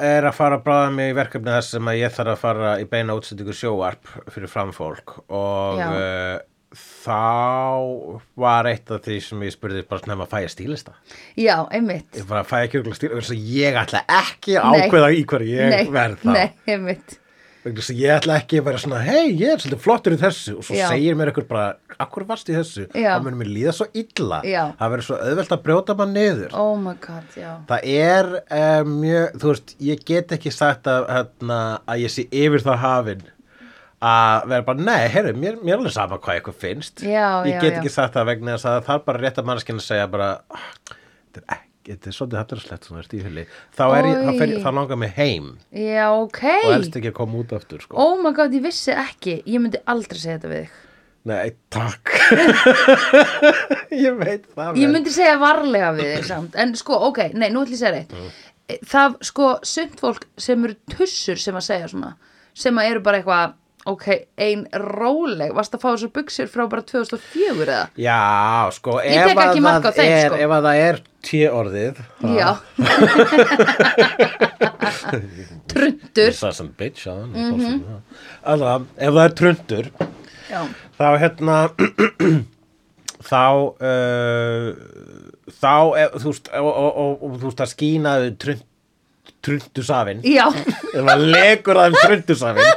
A: er að fara að bráða mig í verkefni þar sem að ég þarf að fara í beina útsendingu sjóvarp fyrir framfólk og
B: Já.
A: uh, þá var eitt af því sem ég spurði bara snemma að fæja stílista.
B: Já, einmitt.
A: Ég bara fæja ekki örugglega stílista, þess að ég ætla ekki
B: Nei.
A: að ákveða í hverju ég
B: nei,
A: verð það.
B: Nei, einmitt.
A: vegna þess að ég ætla ekki að vera svona hei, ég er svolítið flottur í þessu og svo
B: Já.
A: segir mér ykkur bara, akkur varst í þessu
B: Já.
A: það munum mér líða svo illa
B: Já.
A: það verður svo auðvelt að brjóta maður niður
B: oh my god, já
A: það er um, mjög, þú veist, ég get ekki sagt að, hérna, að ég sé yfir það hafin að vera bara, nei, herru, mér, mér er alveg sama hvað ykkur finnst
B: Já,
A: ég
B: já,
A: get
B: já.
A: ekki sagt það vegna þess að það er bara rétt að mannskinn að segja bara, "Ah, þetta er ekki þetta er svolítið hattarslegt svona stífili þá, er ég, þá, fer,
B: Oj.
A: þá langar mig heim
B: já, ok,
A: og elst ekki að koma út aftur sko.
B: oh my god, ég vissi ekki ég myndi aldrei segja þetta við þig
A: Nei, takk Ég veit það
B: ég
A: vel.
B: myndi segja varlega við þig samt en sko, ok, nei, nú ætlum ég að segja
A: Mm.
B: reitt það, sko, sumt fólk sem eru tussur sem að segja svona sem að eru bara eitthvað, ok, ein róleg, varst að fá þessu buksur frá bara 2004 eða?
A: Já, sko
B: Ég
A: ef
B: tek
A: að
B: ekki mark á
A: það
B: þeim,
A: er,
B: sko.
A: Ef að það er tíu orðið það-
B: Já Trundur
A: Ég sagði sem bitch að
B: Mhm.
A: hann mm -hmm. Alltaf, ef það er trundur
B: Já,
A: þá hérna þá uh, þá, ef, þú veist og, og, og, og þú veist að skínaðu trund, trundusafin
B: já
A: ef það um legur að þeim trundusafin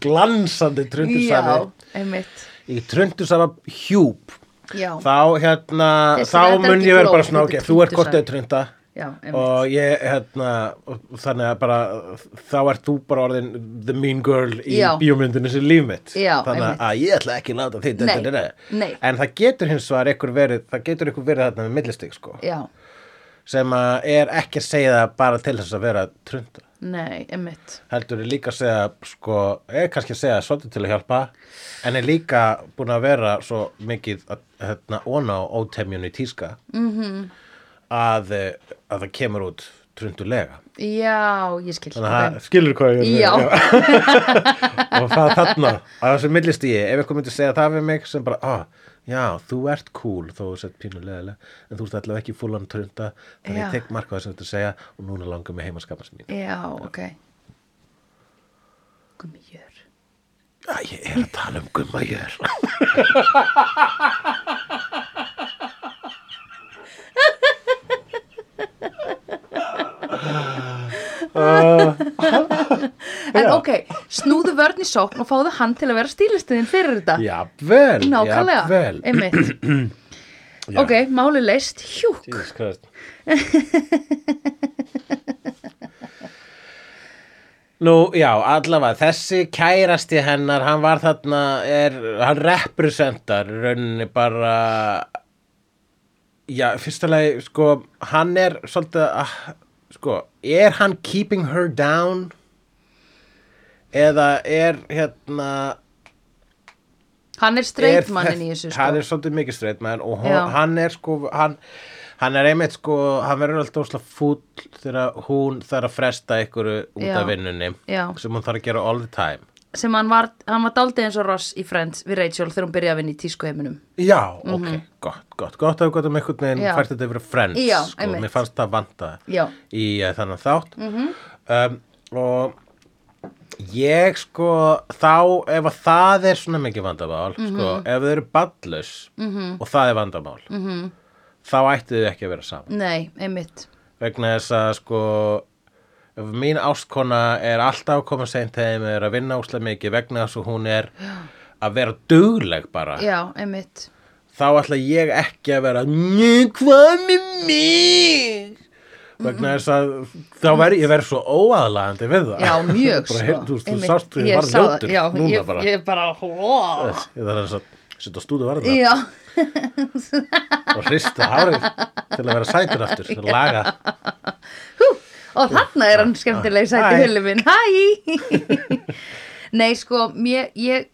A: glansandi trundusafin
B: Já, einmitt
A: í trundusafa hjúp
B: Já,
A: þá hérna
B: Þessi
A: þá
B: þetta er
A: mun
B: ekki
A: ég vera
B: blóð,
A: bara svona ok,
B: þetta er
A: þú ert
B: trundusar.
A: kortið að trunda
B: já, einmitt
A: og ég hérna og þannig að bara þá ert þú bara orðin the mean girl í
B: Já.
A: bíómyndinu sem líf mitt
B: Já,
A: þannig
B: einmitt.
A: að ég ætla ekki að láta þitt
B: Nei, nei.
A: en það getur hins vegar ykkur verið það getur ykkur verið þarna með millistig sko
B: Já,
A: sem að er ekki að segja það bara til þess að vera trunda
B: nei, einmitt
A: heldur er líka að segja sko, er kannski að segja svolítið til að hjálpa en er líka búin að vera svo mikið að, hérna, óna á ótemjunni tíska mm
B: Mhm.
A: -hmm. að, eh, að það kemur út trundulega
B: Já, ég skil
A: þannig að það skilur hvað ég
B: Já.
A: er að segja. og það þarna á þessu millistíi, ef eitthvað myndi segja það við mig sem bara, ah, já, þú ert cool þó þú sett pínulega, en þú ert allavega ekki fullan trunda, þannig
B: Já.
A: ég tek marka þess að þetta segja og núna langar mig heim að skapa sem mín
B: Já, ok Gummijör
A: Æ, ég er að tala um gumma ég er
B: En ok, snúðu vörn í sókn og fáðu hann til að vera stílistiðin fyrir þetta
A: Jafnvel,
B: Nákvæmlega,
A: jafnvel
B: einmitt
A: Já.
B: Ok, máli leist, hjúk
A: Jesus Christ Nú, já, allavega, þessi kærasti hennar, hann var þarna, er, hann representar í rauninni bara, já, fyrsta lagi, sko, hann er svolítið, ah, sko, er hann keeping her down eða er, hérna,
B: Hann er
A: er
B: streitmannin í
A: þess-
B: þessu
A: hann
B: sko.
A: er svolítið mikið streitmann og hon,
B: Já.
A: hann er sko hann, hann er einmitt sko hann verður alltaf ósla fúll þegar hún þarf að fresta ykkur út
B: Já.
A: af vinnunni
B: Já.
A: sem hún þarf að gera all the time
B: sem hann var, hann var daldið eins og Ross í Friends við Rachel þegar hún byrjaði að vinna í tískuheiminum
A: já, ok, gott, gott gott að við gott um einhvern
B: Mhm. Já.
A: veginn fært þetta yfir að friends
B: Já,
A: sko,
B: einmitt.
A: mér fannst það vanta
B: Já.
A: í uh, þannig þátt um, og ég sko þá ef að það er svona mikið vandamál sko, ef þau eru ballus -hmm. og það er vandamál -hmm. þá ættu þau ekki að vera saman
B: Nei, einmitt
A: vegna þess að sko ef mín ástkona er alltaf að koma seint heim er að vinna úslega mikið vegna þess að hún er að vera dugleg bara
B: Já, einmitt
A: þá ætla ég ekki að vera "Njö, hvað með mig vegna þess að þá verð ég verð svo óaðlaðandi við það
B: Já, mjög
A: bara,
B: sko
A: heyrðu, þú, veist, þú
B: Einmitt.
A: sást við
B: Ég
A: var
B: sá það,
A: ljótur
B: já,
A: núna
B: ég,
A: bara
B: Ég bara, hóa
A: ég þarf þess að setja stúdu varða
B: Já,
A: og hrista hárið til að vera sætur aftur til að laga
B: og þarna er hann skemmtileg
A: Hæ.
B: sæti hullu minn Hæ Nei, sko, mér, ég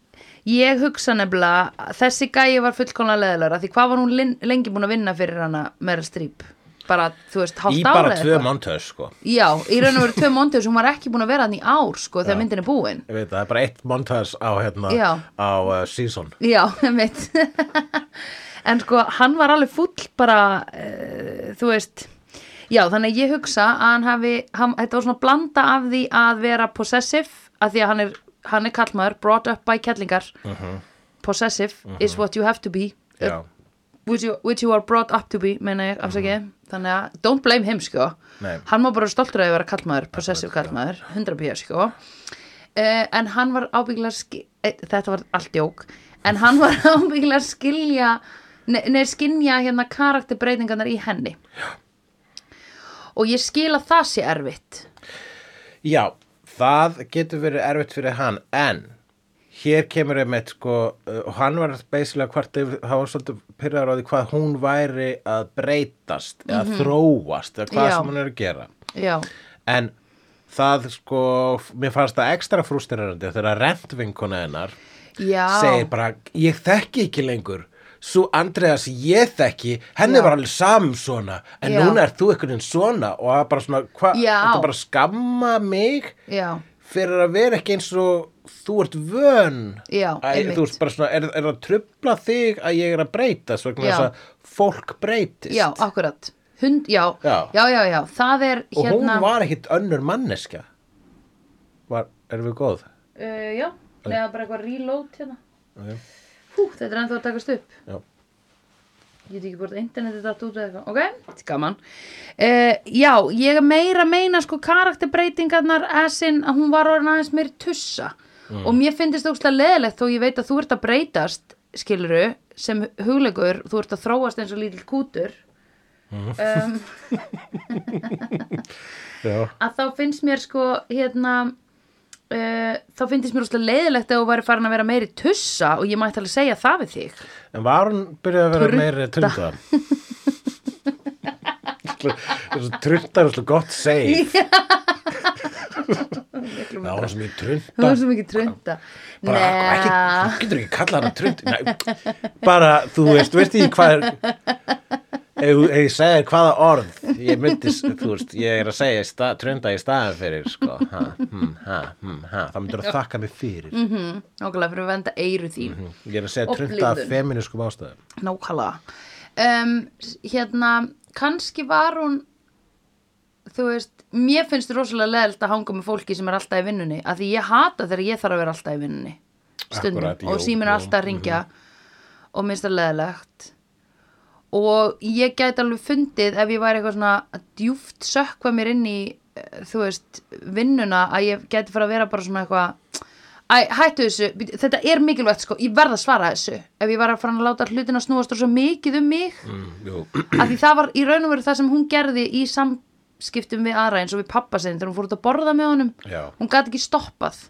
B: Ég hugsa nefnilega að þessi gæi var fullkomlega leðilegur af því hvað var hún lin- lengi búin að vinna fyrir hana Meryl Streep bara, þú veist,
A: í
B: hálft ára
A: bara tvö mántöð sko
B: Já, í raun og veru tvö mondur sem hún var ekki búin að vera hann í ár sko þegar myndin er búin
A: ég veit það, það er bara eitt mántöðs á hérna
B: Já.
A: á uh, season
B: Já, mitt En sko, hann var alveg fúll bara, uh, þú veist Já, þannig að ég hugsa að hann hafi hann, þetta var svona blanda af því að vera possessive, af því að hann er hann er kallmaður, brought up by kellingar Possessive is what you have to be
A: já,
B: which you, which you are brought up to be meina ég, afsakið þannig að don't blame him sko
A: Mhm. Nei.
B: hann má bara vera stoltur að vera kallmaður possessive kallmaður, 100 pjör sko uh, en hann var ábyggilega ski- eh, þetta var allt jók en hann var ábyggilega skilja nei, nei skinja hérna karakterbreytingarnar í henni Já. og ég skil að það sé erfitt
A: Já, það getur verið erfitt fyrir hann en hér kemur einmitt sko uh, og hann var beisilega hvart yfir, hann var svolítið pyrraður á því hvað hún væri að breytast eða þróast eða hvað
B: Mhm. Já.
A: sem hún er að gera
B: Já,
A: en það sko f- mér fannst það ekstra frústirrandi þegar rentvinkona hennar
B: já
A: segir bara ég þekki ekki lengur svo Andrea sem ég þekki henni
B: Já.
A: var alveg sam svona en
B: Já.
A: núna er þú einhvern veginn svona og það er bara svona hvað,
B: Já.
A: þetta bara að skamma mig
B: Já,
A: fyrir að vera ekki eins og þú ert vön
B: Já,
A: að,
B: einmitt.
A: þú ert bara svona, er, er að trubla þig að ég er að breyta svo
B: Já.
A: þess að fólk breytist
B: já, akkurat Hund, já.
A: Já.
B: já, já, já, það er
A: og
B: hérna
A: hún var ekkit önnur manneskja var, erum við góð
B: uh, Já, neða bara eitthvað reload hérna
A: okay.
B: Hú, þetta er ennþá að takast upp
A: já.
B: Ég veit ekki hvort internetið datt út eða eitthvað Ok, þetta er gaman uh, Já, ég er meira að meina sko karakterbreytingarnar Essin að hún var orðin aðeins meiri tussa Og mér finnst það óslega leðilegt Þó ég veit að þú ert að breytast Skiluru, sem hugleikur Þú ert að þróast eins og lítill kútur um,
A: Já.
B: að þá finnst mér sko hérna Uh, þá finnst mér úrslega leiðilegt ef þú væri farin að vera meiri tussa og ég mætti alveg segja það við þig
A: en var hún byrjuð að vera
B: Trunta.
A: meiri trunda trunda er alltaf gott segið
B: Miklu
A: það var sem ég
B: Þú
A: trunda
B: er svo mikið trönda
A: bara, ekki,
B: Nei,
A: þú getur ekki kallað hana trund Nei, bara, þú veist, veist ég hvað er ef, þú- ef ég segja þér hvaða orð ég myndi, s- þú veist, ég er að segja í stað, trunda í staðan fyrir sko. ha, hm, ha, hm, ha. það myndir að þakka mig fyrir Mhm.
B: nákvæmlega fyrir að venda eiru þín
A: ég er að segja
B: Og
A: trunda af
B: blygðun.
A: feminískum ástæðum
B: Nákvæmlega um, Hérna, kannski var hún Þú veist Mér finnst rosalega leðilt að hanga með fólki sem er alltaf í vinnunni af Því ég hata þegar ég þarf að vera alltaf í vinnunni Stundum
A: Akkúrat, jú,
B: Og
A: jú,
B: síminn
A: Mhm.
B: er alltaf að ringja Og minnst það leðilegt Og ég gæti alveg fundið ef ég væri eitthvað svona að djúft sökva mér inn í, eh, þú veist, vinnuna að ég gæti fara að vera bara svona eitthvað Æ, hættu þessu, bíddu, þetta er mikilvægt sko, ég verð að svara þessu ef ég var að fara að láta hlutina snúast svo mikið um mig
A: mm, jú.
B: af því það var í raun og veru það sem hún gerði í samskiptum við aðra eins og við pappa sinn þegar hún fór út að borða með honum
A: Já.
B: hún gat ekki stoppað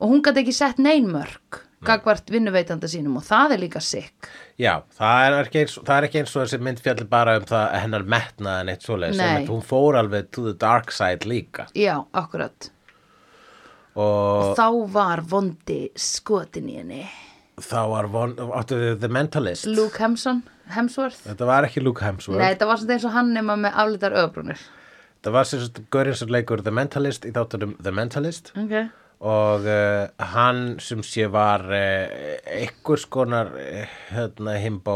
B: og hún gat ekki sett neinmörk gagvart vinnuveitanda sínum og það er líka sick
A: Já, það er, ekki eins, það er ekki eins og þessi mynd fjallir bara um það að hennar metnaði neitt svoleiðis,
B: Nei.
A: Einmitt, hún fór alveg to the dark side líka
B: já, akkurat
A: og
B: þá var vondi skotin í henni
A: þá var von, áttu við The Mentalist
B: Luke Hemson, Hemsworth
A: Þetta var ekki Luke Hemsworth
B: Nei, þetta var svona eins og hann nema með aflitar öfbrunir
A: Það var sem sagt gaurinn sem leikur The Mentalist í þáttunum The Mentalist
B: okay.
A: og uh, hann sem sé var uh, einhvers konar uh, hérna himbó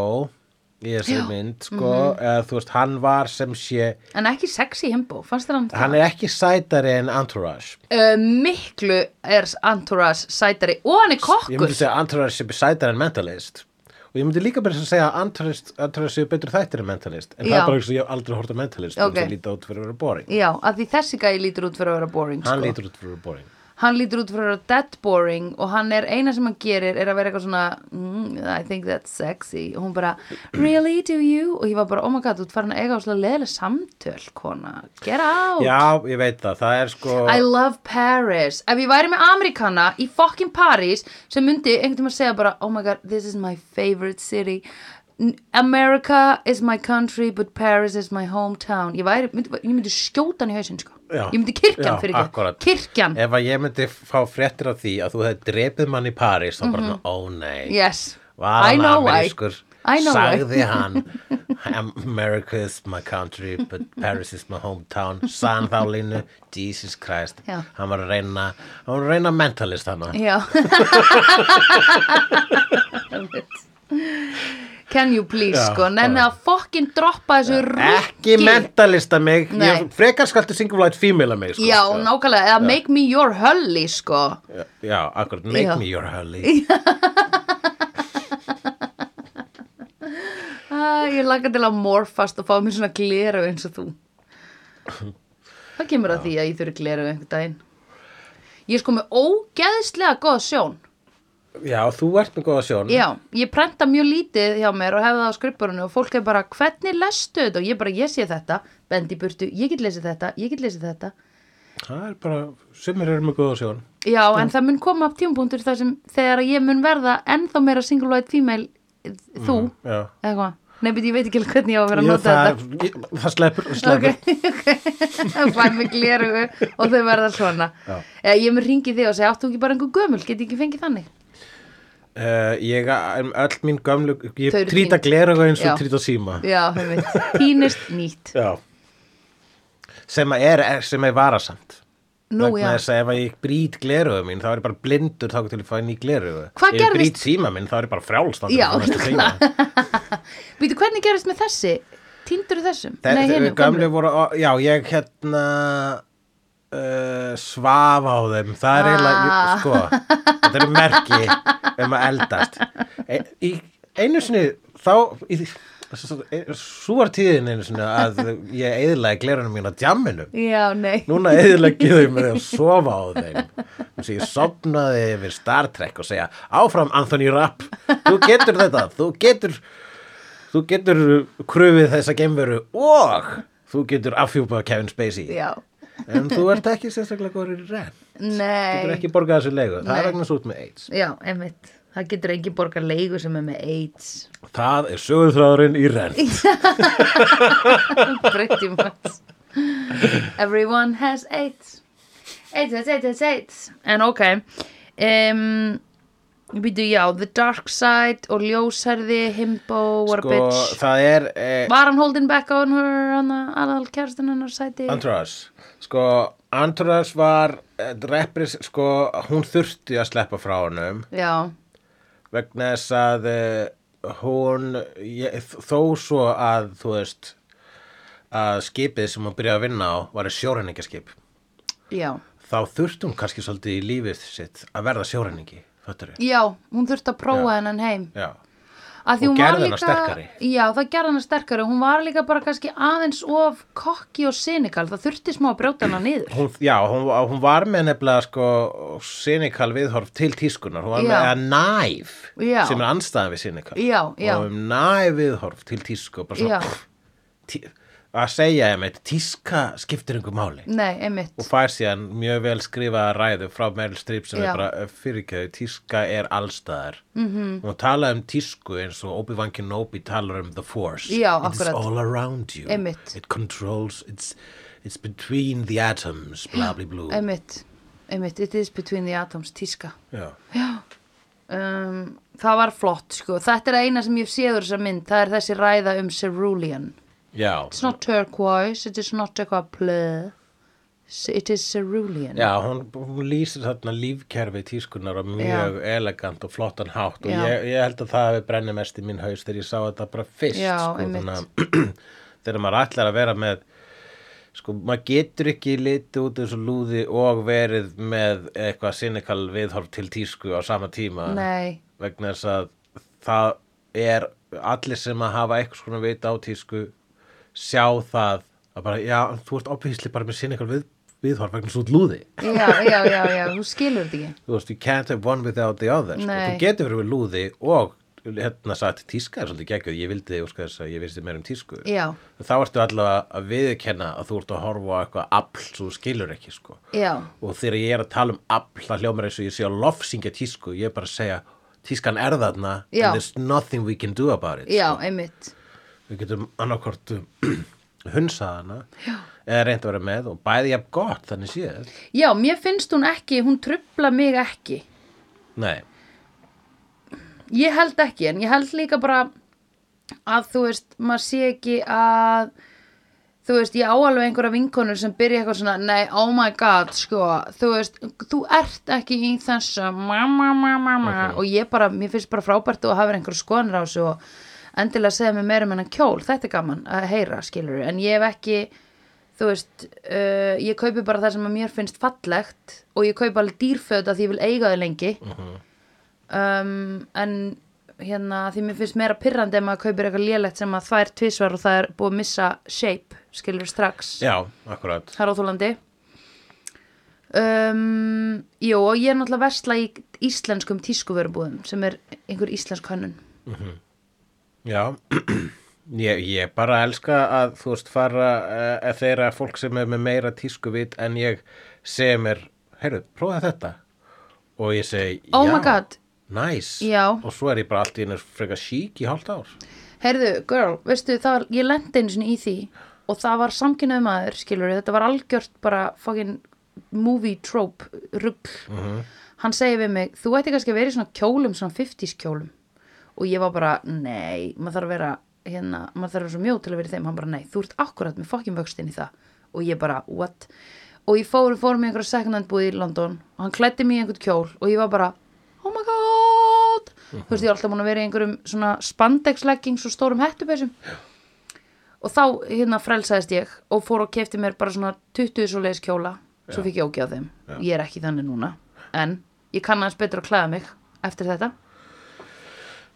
A: í þessi
B: Já. Mhm.
A: mynd sko, eða þú veist, hann var sem sé
B: En ekki sexy himbo, fannst þér hann það?
A: hann er ekki sætari en Entourage
B: Uh, miklu er Entourage sætari og hann er
A: ég
B: kokkur
A: myndi segja að Entourage sé sætari en Mentalist og ég myndi líka bara að segja að Entourage, Entourage séu betur þættir en Mentalist en það
B: Já.
A: er bara eins og ég hef aldrei hort á Mentalist
B: Ok.
A: okay. það líta út fyrir að vera boring
B: Já, að því þessi gæi lítur út fyrir að vera boring
A: hann
B: sko.
A: lítur út fyrir að vera boring
B: hann lítur út fyrir að vera dead boring og hann er eina sem hann gerir er að vera eitthvað svona mm, I think that's sexy og hún bara, really do you? Og ég var bara, oh my god, þú ert farin að eiga á svona leðileg samtöl, kona, get out
A: Já, ég veit það, það er sko
B: I love Paris Ef ég væri með Amerikana í fucking Paris sem myndi einhvern veginn að segja bara Oh my god, this is my favorite city N- America is my country but Paris is my hometown Ég, væri, myndi, ég myndi skjóta hann í hausinn sko
A: Já.
B: Ég myndi kirkjan
A: Já,
B: fyrir ekki
A: akkúrat.
B: Kirkjan,
A: Ef að ég myndi fá fréttir af því að þú hefði drepið mann í París þá bara, ó nei
B: yes
A: Var
B: Mhm. I
A: hann
B: know why.
A: amerískur
B: I know why.
A: Sagði hann America is my country but Paris is my hometown Sann þá línu, Jesus Christ
B: Já.
A: Hann var að reyna Hann var að reyna mentalist hana
B: Já Can you please
A: Já,
B: sko Nenni að fucking droppa þessu
A: Ekki
B: ruggi.
A: mentalista mig
B: Nei.
A: ég, Frekar skaltu singulite female að mig sko.
B: Já, nákvæmlega, eða make me your hully, sko.
A: Já, Já, akkurat, make
B: Já.
A: me your holly
B: Æ, Ah, ég laka til að morfast og fá mér svona gleru eins og þú. Það kemur að því að ég þurfi gleru einhvern daginn. Ég er sko með ógeðslega góð sjón.
A: Já, þú ert með góða sjón
B: Já, ég prenta mjög lítið hjá mér og hefði það á skrippurinu og fólk er bara, hvernig lestu þetta? Og ég bara, ég sé þetta, bendi í burtu, ég get lesið þetta, ég get lesið þetta.
A: Það er bara, sumir eru með góða sjón
B: Já, en það mun koma upp tímapunktur þar sem þegar ég mun verða ennþá meira single-white female eh, þú,
A: Já
B: eða hvað? Nei, beti, ég veit ekki alveg hvernig ég á að vera að
A: Ég,
B: nota þetta.
A: það, ég, það sleppur, það sleppur.
B: Það fær mig glerugu og þau verða svona.
A: Já.
B: Eða ég mun ringi þig og segja, áttu ekki bara einhver gömul, geti ekki fengið þannig.
A: Uh, ég, öll mín gömlu, ég
B: Þau eru
A: trýta
B: þín.
A: glera eins
B: Já.
A: og trýta síma.
B: Já, þau veit, pínist nýtt.
A: Já. Sem að er, er, sem er varasamt.
B: Nú,
A: Vegna
B: já.
A: þess að ef að ég brýt gleruðu mín, þá er ég bara blindur þá til að fá ný gleruðu.
B: Hvað
A: Ef ég brýt
B: gerðist?
A: síma minn, þá er ég bara frjálst.
B: Já, Býtu, hvernig gerist með þessi? Týndur þessum? Nei, hérna,
A: Þeir
B: hennu,
A: gömlu voru, ó, já, ég hérna uh, svaf á þeim, það er eiginlega,
B: Ah.
A: sko, þetta eru merki um að eldast. E, í, einu sinni, þá, í, svo var tíðin einu sinni að ég eiginlega glerunum mín á djamminu.
B: Já, nei.
A: Núna eðilegi þau með því að sofa á þeim. Þannig að ég sopnaði yfir Star Trek og segja áfram Anthony Rapp, þú getur þetta, þú getur, þú getur kröfið þessa geimveru og þú getur afhjúpað Kevin Spacey.
B: Já,
A: En þú ert ekki sérstaklega góður í renn. Þú getur
B: nei.
A: ekki borgað þessu leigu. Það er
B: Nei.
A: vegna svo út með AIDS.
B: Já, einmitt. Það getur engin borgar leigu sem er með AIDS.
A: Það er sögurþráðurinn í renn.
B: Pretty much. um Everyone has AIDS. AIDS, AIDS, AIDS, AIDS, AIDS. En ok. Um, býtu, já, The Dark Side og Ljósherði, Himbo, What a
A: Sko,
B: Bitch.
A: það er... Eh,
B: Var hann holding back on her, hann aðal kjærstinn hennar sæti?
A: Entourage, sko Entourage var eh, repris, sko, hún þurfti að sleppa frá honum
B: Já,
A: vegna þess að eh, hún ég, þó svo að þú veist að skipið sem hún byrjaði að vinna á var að sjóræningjaskip
B: já.
A: þá þurfti hún kannski svolítið í lífið sitt að verða sjóræningi, föttur við
B: Já, hún þurfti að prófa hennan heim.
A: Já,
B: Af því
A: Og
B: hún var
A: gerði hana
B: líka-
A: sterkari.
B: Já, það gerði hana sterkari. Hún var líka bara kannski aðeins of kokki og sinikal. Það þurfti smá að brjóta hana niður.
A: hún, já hún, hún var með nefnilega sko sinikal viðhorf til tískunar hún var
B: Já.
A: með að næf
B: Já.
A: sem er anstæðan við sinikal
B: Já, já.
A: og um næviðhorf til tísku og bara svona
B: Já.
A: tí, að segja ég meitt, tíska skiptir einhver máli
B: Nei, einmitt.
A: og fær síðan mjög vel skrifaða ræðu frá Meryl Streep sem
B: Já.
A: er bara fyrirkjöðu, tíska er allstaðar mm
B: Mhm.
A: -hmm. og hún talaði um tísku eins og Obi-Wan Kenobi talar um the force
B: Já,
A: it is
B: akkurat.
A: all around you
B: Einmitt.
A: it controls, it's, it's between the atoms bla bla bla
B: Einmitt. Einmitt. It is between the atoms. Tíska.
A: Já.
B: Um, það var flott, sko. Þetta er eina sem ég séður þessa mynd. Það er þessi ræða um cerulean.
A: Já.
B: It's not turquoise. It is not eitthvað blöð. It is cerulean.
A: Já, hún, hún lýsir þarna lífkerfi tískunar og mjög elegant og flottan hátt og
B: Já.
A: ég, ég held að það hefur brennið mest í minn haus þegar ég sá þetta bara fyrst sko,
B: Já, einmitt.
A: þannig að þegar maður ætlar að vera með sko, maður getur ekki litið út þessu lúði og verið með eitthvað sinikal viðhorf til tísku á sama tíma
B: Nei.
A: vegna þess að það er allir sem að hafa eitthvað svona vita á tísku sjá það að bara, já, þú ert opvísli bara með sinikal við, viðhorf vegna svo lúði
B: Já, já, já, já. Þú skilur þetta ekki.
A: þú veist, you can't have one without the other sko.
B: Nei.
A: þú getur verið með lúði og hérna sagt tíska er svolítið geggjöð ég vildi þig, óska þess að ég vissi meira um tísku
B: Já.
A: þá ertu allavega að viðurkenna að þú ert að horfa á eitthvað afl svo þú skilur ekki sko.
B: Já.
A: og þegar ég er að tala um afl það hljómar eins og ég sé að lofsingja tísku ég er bara að segja, tískan er þarna
B: Já.
A: and there's nothing we can do about it
B: Já, einmitt.
A: við getum annarkort um, hunsað hana Já. eða reynd að vera með og bæði jafn gott þannig séð
B: Já, mér finnst hún ekki, hún trubla mig ekki.
A: nei,
B: Ég held ekki, en ég held líka bara að þú veist, maður sé ekki að þú veist, ég á alveg einhverja vinkonur sem byrja eitthvað svona, nei, oh my god, sko, þú veist, þú ert ekki í þessu, mamma, mamma, mamma, og ég bara, mér finnst bara frábært og hafa einhverja skoðanir á þessu og endilega segja mér meira um hennan kjól, þetta er gaman að heyra, skilur en ég hef ekki, þú veist, uh, ég kaupi bara það sem að mér finnst fallegt og ég kaupi alveg dýrföt að því ég vil eiga þau lengi, um, en hérna, því mér finnst meira pirrandi ef maður kaupir eitthvað lélegt sem að þvær tvisvar og það er búið að missa shape, skilur strax
A: Já, akkurat
B: það er óþólandi um, Jú, og ég er náttúrulega versla í íslenskum tískuvörubúðum sem er einhver íslensk hönnun
A: Já Ég, ég bara elska að þú veist fara eh, að þeirra fólk sem er með meira tískuvit en ég sem er, heyrðu, prófa þetta og ég segi,
B: Oh
A: já,
B: my god.
A: nice
B: Já.
A: og svo er ég bara allt í einu frekar sík í hálft ár
B: Heyrðu, girl, veistu, það var, ég lendi einu sinni í því og það var samkynnaðu maður, skilur við, þetta var algjört bara fucking movie trope rugg. Hann segi við mig, þú ætti kannski að vera í svona kjólum, svona 50s kjólum. Og ég var bara, nei, maður þarf að vera, hérna, maður þarf að vera svo mjóð til að vera í þeim. Hann bara, nei, þú ert akkurat með fucking vöxtin í það. Og ég bara, what? Og ég fór, fór mig í einhverja second hand búið í London og hann klæddi mig í einhvern kjól og ég var bara, oh my god þú veist ég er alltaf múin að vera í einhverjum svona spandex leggings og stórum hettupesum og þá hérna frelsaðist ég og fór og kefti mér bara svona 20 svo leiðis kjóla svo fikk ég ógjað þeim ég er ekki þannig núna en ég kann aðeins betur að klæða mig eftir þetta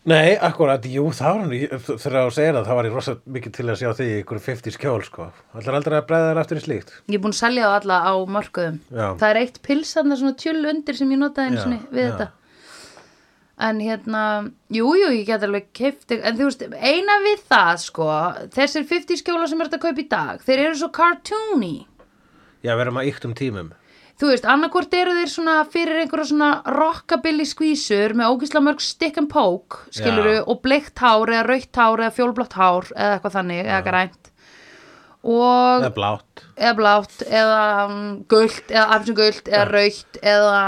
A: Nei, akkurat, jú, þá er hann þegar þú segir það, þá var ég rosa mikið til að sjá því í ykkur 50 skjól, sko Allar aldrei að bregða þær aftur í slíkt
B: ég er búin að selja það alla á markaðum
A: Já.
B: það er eitt pils þarna svona tjöl undir sem ég notaði einu
A: Já,
B: sinni við
A: já.
B: þetta En hérna, jú, jú, ég get alveg keift, en þú veist, eina við það, sko, þessir 50 skjóla sem er þetta að kaupa í dag, þeir eru svo cartoony.
A: Já, við erum að yktum tímum
B: þú veist, annarkvort eru þeir svona fyrir einhverja svona rockabilly skvísur með ógisla mörg stick and poke skiluru,
A: Já.
B: og bleikt hár eða rautt hár eða fjólblótt hár eða eitthvað þannig, eða grænt og,
A: Það er blátt
B: eða blátt eða um, gult, eða afsingult eða rautt, eða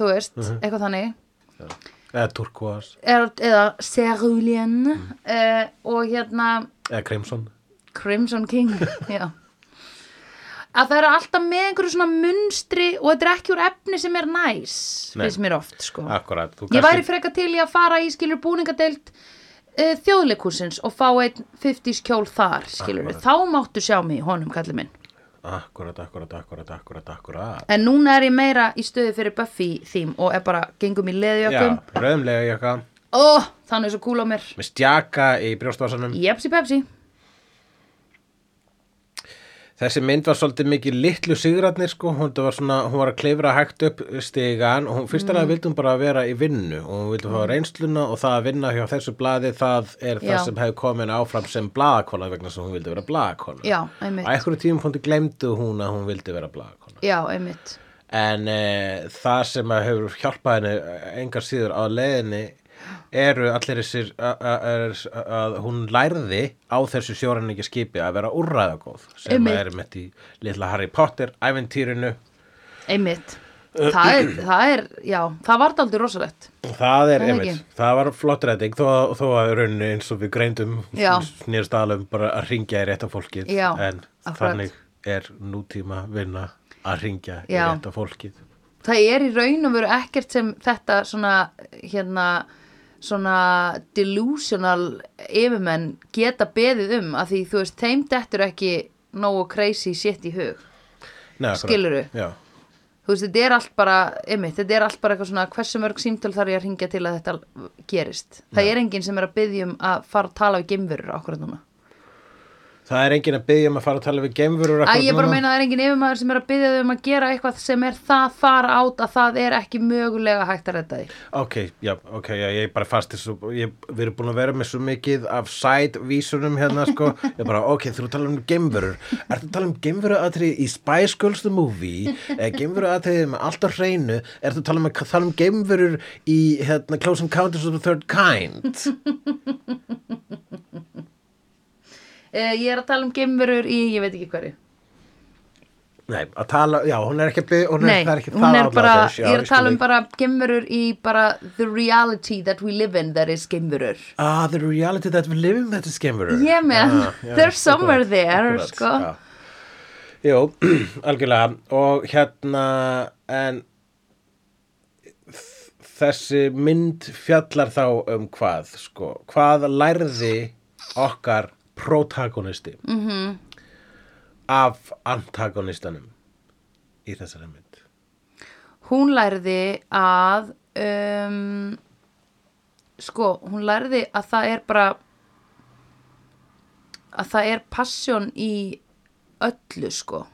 B: þú veist, eitthvað þannig
A: eða turkúas,
B: eða, eða cerulean eh, og hérna
A: eða crimson
B: Crimson King já. að það eru alltaf með einhverju svona munstri og þetta er ekki úr efni sem er næs
A: Nei. Ah,
B: finnst mér oft sko
A: Akkurat, þú
B: ég væri freka til í að fara í skilur búningadeild uh, þjóðleikúsins og fá einn 50 kjól þar skilur þá máttu sjá mig í honum kallið minn
A: Akkurat, akkurat, akkurat, akkurat, akkurat
B: en núna er ég meira í stöðu fyrir Buffy þím og er bara gengum í leðjökum
A: Já, rauðumlega jakka
B: oh, þannig er svo kúl á mér
A: með stjaka í brjóstvasanum
B: jepsi pepsi
A: þessi mynd var svolítið mikið litlu sigratnir sko, hún þetta var svona, hún var að klifra hægt upp stigan og hún
B: Mm.
A: fyrst alveg vildi hún bara vera í vinnu og hún vildi fá reynsluna og það að vinna hjá þessu blaði það er það
B: Já.
A: sem hefur komin áfram sem blaðakona vegna sem hún vildi vera blaðakona
B: Já, einmitt.
A: á einhverju tímum punktu glemdu hún að hún vildi vera blaðakona
B: já, einmitt
A: en e, það sem að hefur hjálpað henni engar síður á leiðinni eru allir þessir a- a- er- að hún lærði á þessu sjóræningi skipi að vera úrræðagóð sem
B: Einmitt.
A: að er mitt í litla Harry Potter æventýrinu
B: einmitt það er, það er, já, það var aldrei rosalegt
A: það er
B: Það er
A: einmitt,
B: ekki.
A: það var flott redding þó, að- þó að í rauninni eins og við greindum
B: Já.
A: snýrst alveg um bara að ringja í rétta fólkið
B: Já,
A: en
B: akkurat.
A: þannig er nútíma vinna að ringja í
B: Já.
A: rétta fólkið
B: það er í raun og veru ekkert sem þetta svona hérna svona delusional yfirmenn geta beðið um að því þú veist, þeim dettur ekki nógu crazy shit í hug
A: Nei, akkurat.
B: Skilurðu?
A: Já.
B: þú veist, þetta er allt bara einmitt, þetta er allt bara eitthvað svona hversu mörg símtöl þarf ég að ringja til að þetta gerist það er enginn sem er að biðja um að fara að tala við geimverur okkur núna
A: Það er enginn að byggja um að fara að tala við geimverur
B: Æ,
A: akkurat
B: ég bara
A: núna.
B: meina að það er enginn yfirmaður sem er að byggja þau um að gera eitthvað sem er það far átt að það er ekki mögulega hægt að redda því
A: Ok, já, ok, já, ég bara fasti svo, ég, við erum búin að vera með svo mikið af side-vísunum hérna, sko, ég bara, ok, þú erum að tala um geimverur, ertu að tala um geimveru aðtrið í Spice Girls the Movie, eða geimveru aðtrið með allt á hreinu, ertu að tala um, að tala um geimverur í, hérna, Close Encounters of the Third Kind?
B: uh, ég er að tala um geimverur í, ég veit ekki hverju
A: Nei, að tala, já, hún er ekki, að byggja- hún er,
B: Nei,
A: það er ekki
B: hún
A: það
B: er
A: álag
B: bara,
A: þess, já,
B: ég er að
A: skil
B: tala um
A: ekki.
B: bara gemurur í bara the reality that we live in that is gemurur.
A: Ah, the reality that we live in that is geimverur.
B: Yeah man,
A: Ah, já,
B: they're somewhere
A: akkurat,
B: there,
A: akkurat,
B: sko.
A: já. Jú, algjörlega og hérna en þ- þessi mynd fjallar þá um hvað sko, hvað lærði okkar protagonisti -hmm.
B: Mhm.
A: af antagonistanum í þessari mynd
B: Hún lærði að um, sko, hún lærði að það er bara að það er passion í öllu sko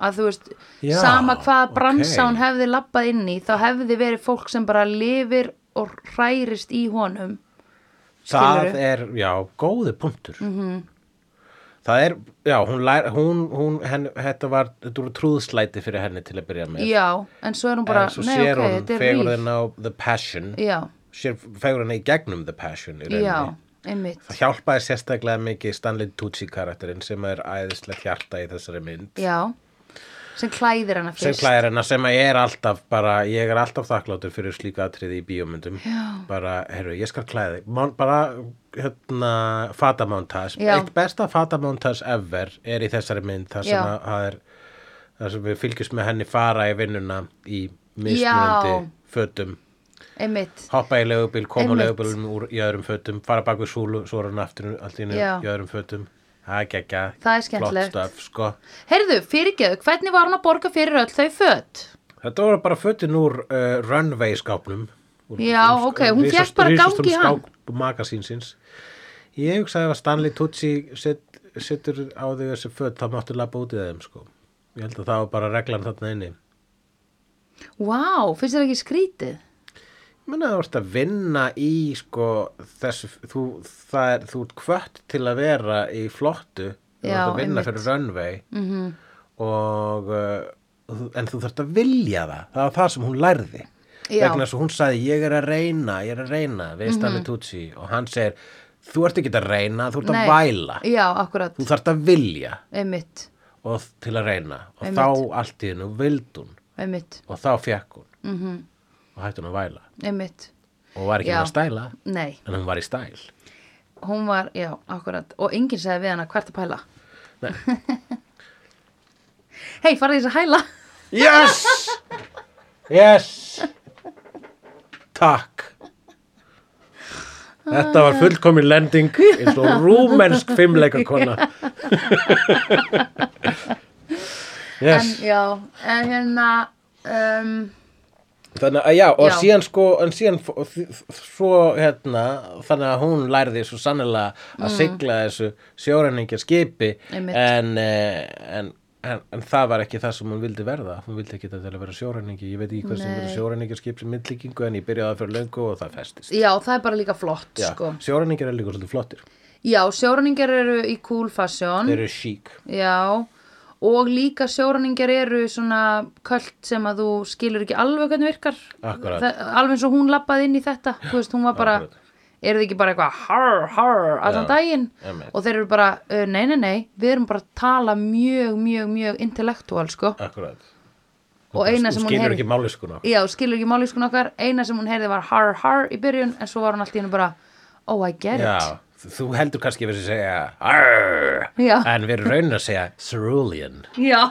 B: að þú veist,
A: Já,
B: sama hvaða
A: ok.
B: bransa hún hefði labbað inn í þá hefði verið fólk sem bara lifir og hrærist í honum
A: það
B: Skilurðu? Mhm.
A: er, já, góði punktur -hmm. það er, já, hún, lær, hún, hún henn, þetta var, þetta voru trúðslæti fyrir henni til að byrja með
B: já, en svo er hún bara,
A: en svo
B: nei
A: sér
B: ok,
A: hún
B: þetta er ríl
A: fegurðin á The Passion
B: já,
A: sér fegurðin í gegnum The Passion í
B: já,
A: rauninni
B: einmitt
A: það hjálpaði sérstaklega mikið Stanley Tucci karakterinn sem er æðislegt hjarta í þessari mynd
B: já, sem klæðir hana
A: sem
B: fyrst
A: klæðir hennar sem að ég er alltaf bara, ég er alltaf þakkláttur fyrir slíka atriði í bíómyndum
B: Já.
A: bara, herru, ég skal klæði Món, bara, hérna, fatamontage
B: Já.
A: eitt besta fatamontage ever er í þessari mynd þar sem,
B: Já.
A: að, að er, þar sem við fylgjumst með henni fara í vinnuna í
B: Já.
A: mismunandi fötum
B: einmitt,
A: hoppa í legubíl, koma á
B: Einmitt.
A: legubílum úr í öðrum fötum, fara bak við súlu svo er hann aftur allt í einu
B: Já.
A: í öðrum fötum það er geggja,
B: Það er
A: flott
B: skemmtilegt.
A: stöf sko.
B: heyrðu, fyrirgeðu hvernig var hún að borga fyrir öll þau fött
A: þetta voru bara fötin úr uh, runway skápnum úr,
B: Já, ok, hún
A: risast-
B: fékk bara gang í
A: risastórum
B: hann.
A: skáp magasínsins ég hugsaði ef að Stanley Tucci set, setur á þau þessi föt þá máttu labba út í þeim sko. ég held að það var bara reglan þarna inni
B: Vá, finnst þér ekki skrítið?
A: Menna þú ert að vinna í sko þessu, þú, það er, þú ert kvött til að vera í flottu, þú
B: Já,
A: ert að vinna
B: einmitt. Mhm.
A: fyrir runway -hmm. og uh, þú- en þú þarft að vilja það, það var það sem hún lærði.
B: Já.
A: Vegna þess að hún sagði ég er að reyna, ég er að reyna, við Stanley
B: Mhm.
A: Tucci og hann segir þú ert ekki að reyna, þú ert að væla,
B: Já, akkurat,
A: þú þarft að vilja
B: einmitt,
A: og, til að reyna og
B: Einmitt.
A: þá allt í hennu vild hún
B: einmitt,
A: og þá fekk hún mm -hmm. og hætti hún að væla
B: einmitt,
A: og var ekki
B: Mhm. Já.
A: með að stæla
B: nei,
A: en hún var í stæl
B: hún var, já, akkurat, og enginn segði við hana hvert að pæla.
A: Nei.
B: Hei, farið þess að hæla.
A: yes yes takk þetta var fullkomin lending eins og rúmensk fimmleikakona
B: En,
A: yes
B: já, en hérna, um,
A: þannig að já og
B: Já.
A: síðan sko en síðan f- og þi- þ- svo hérna þannig að hún lærði svo sannilega að sigla þessu sjóræningja skipi
B: Mm. Einmitt.
A: en, eh, en, en, en það var ekki það sem hún vildi verða hún vildi ekki þetta til að vera sjóræningi ég veit ekki hvað sem
B: Nei.
A: verður sjóræningja skip sem myndlíkingu en ég byrjaði fyrir löngu og það festist
B: já, það er bara líka flott,
A: Já,
B: sko. Mm.
A: sjóræningjar er líka svolítið flottir
B: Já, sjóraningar eru í cool fashion.
A: þeir eru sík
B: Já, og líka sjóraningar eru svona köld sem að þú skilur ekki alveg hvernig virkar.
A: Akkúrat.
B: Það- Alveg eins og hún lappaði inn í þetta, þú veist, hún var bara,
A: akkúrat.
B: eru þið ekki bara eitthvað har, har, allan
A: Já,
B: daginn?
A: einmitt.
B: Og þeir eru bara, "Uh, nei, nei, nei, við erum bara að tala mjög, mjög, mjög intellectual, sko.
A: akkurat
B: Og eina sem hún
A: skilur
B: heyrir-
A: ekki sko, máliskuna
B: Já, skilur ekki máli skoðan okkar, eina sem hún heyrði var har, har í byrjun, en svo var hún allt í hennu bara, oh, I get it.
A: Já, þú heldur kannski að við sér segja Arr,
B: Já.
A: en við erum raunin að segja Cerulean.
B: Já,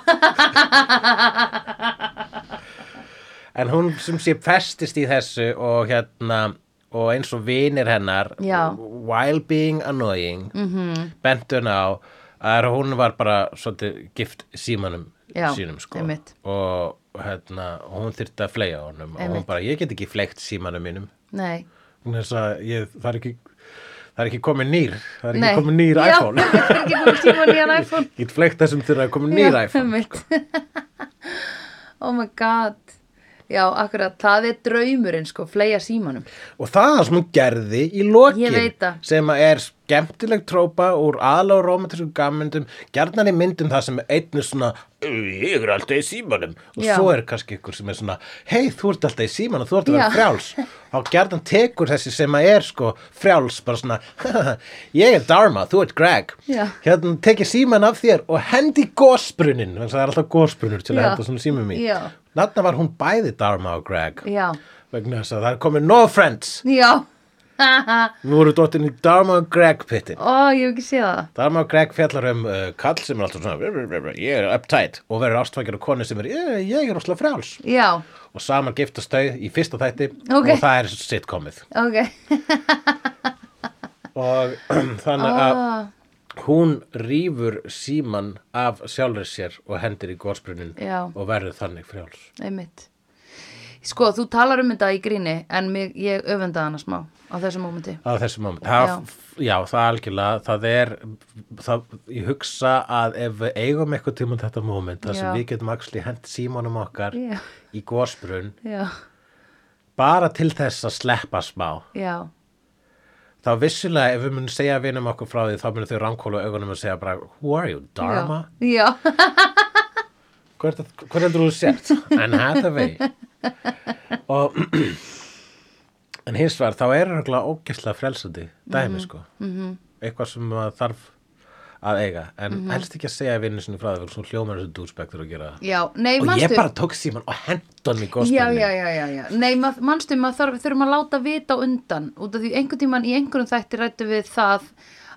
A: En hún sem sé festist í þessu og hérna og eins og vinir hennar
B: Já. Mhm.
A: while being annoying mm -hmm. bentu henni á að hún var bara svolítið gift símanum
B: Já,
A: sínum sko
B: einmitt.
A: og hérna, og hún þyrfti að fleja á honum og hún
B: Einmitt.
A: bara, ég get ekki fleikt símanum mínum
B: nei.
A: Hún þess að ég, það er ekki það er ekki komin nýr, það er ekki
B: Nei.
A: komin nýr
B: Já,
A: iPhone
B: það er ekki komin tíma nýjan iPhone.
A: Ég get fleikt þessum þegar það er komin nýr
B: Já,
A: iPhone sko.
B: einmitt. oh my god já, akkurat, það er draumurinn sko, fleja símanum
A: og það sem hún gerði í lokin
B: Ég veit það.
A: sem að er skemmtileg trópa úr aðlá romantísku gammyndum gjarnar í myndum það sem einn er svona "Ö, ég er alltaf í símanum og
B: Já.
A: svo er kannski ykkur sem er svona hei þú ert alltaf í símanum, þú ert að vera
B: Já.
A: frjáls og gjarnan tekur þessi sem að er sko frjáls bara svona ég er Dharma, þú ert Greg
B: Já.
A: hérna tekið síman af þér og hendi gósbrunin, þannig að það er alltaf gósbrunur til að
B: Já.
A: henda svona símum í
B: Já.
A: þarna var hún bæði Dharma og Greg
B: já,
A: vegna þess að það er komið no friends
B: já
A: Við vorum dottin í Dharma og Greg pittin.
B: ó, ég hef ekki séð það
A: Dharma og Greg fjallar um uh, kall sem er alltaf svona, "Brr, brr, brr, brr, ég er uptight og verður ástfækjur og konu sem er, "Ég- ég er óslega frjáls.
B: já,
A: Og saman giftast þau í fyrsta þætti
B: Ok.
A: og það er sitcomið.
B: ok
A: Og þannig að
B: Ah.
A: hún rýfur síman af sjálfur sér og hendir í gósbrunin
B: Já.
A: og verður þannig frjáls.
B: einmitt Sko, þú talar um þetta í gríni en mig, ég öfundaði hana smá á þessu mómenti.
A: á þessu moment það, já. það algjörlega, það er það, ég hugsa að ef við eigum eitthvað tíma um þetta moment það
B: Já.
A: sem við getum axli hent símanum okkar
B: Já.
A: í gósbrun
B: Já,
A: bara til þess að sleppa smá
B: já,
A: þá vissulega ef við munum segja vinum okkur frá því þá munum þau ránkóla augunum og segja bara who are you, Dharma?
B: já, já,
A: Hvað er það- hvað heldur þú sért? En hætta vegi. Og en hins vegar þá er örgulega ógæslega frelsandi
B: Mhm,
A: dæmi sko. -hmm. Eitthvað sem maður þarf að eiga. En
B: Mhm.
A: helst ekki að segja vinnu sinni frá það, svo hljómar þessu dúsbæktur að gera það.
B: já, nei,
A: Og
B: manstu.
A: ég bara tók síman og hendan í
B: Já,
A: góðspilni.
B: já, já, já, já. Nei, ma- manstu, maður þarf, þurfum að láta vita á undan út af því einhvern tímann í einhverjum þætti rættu við það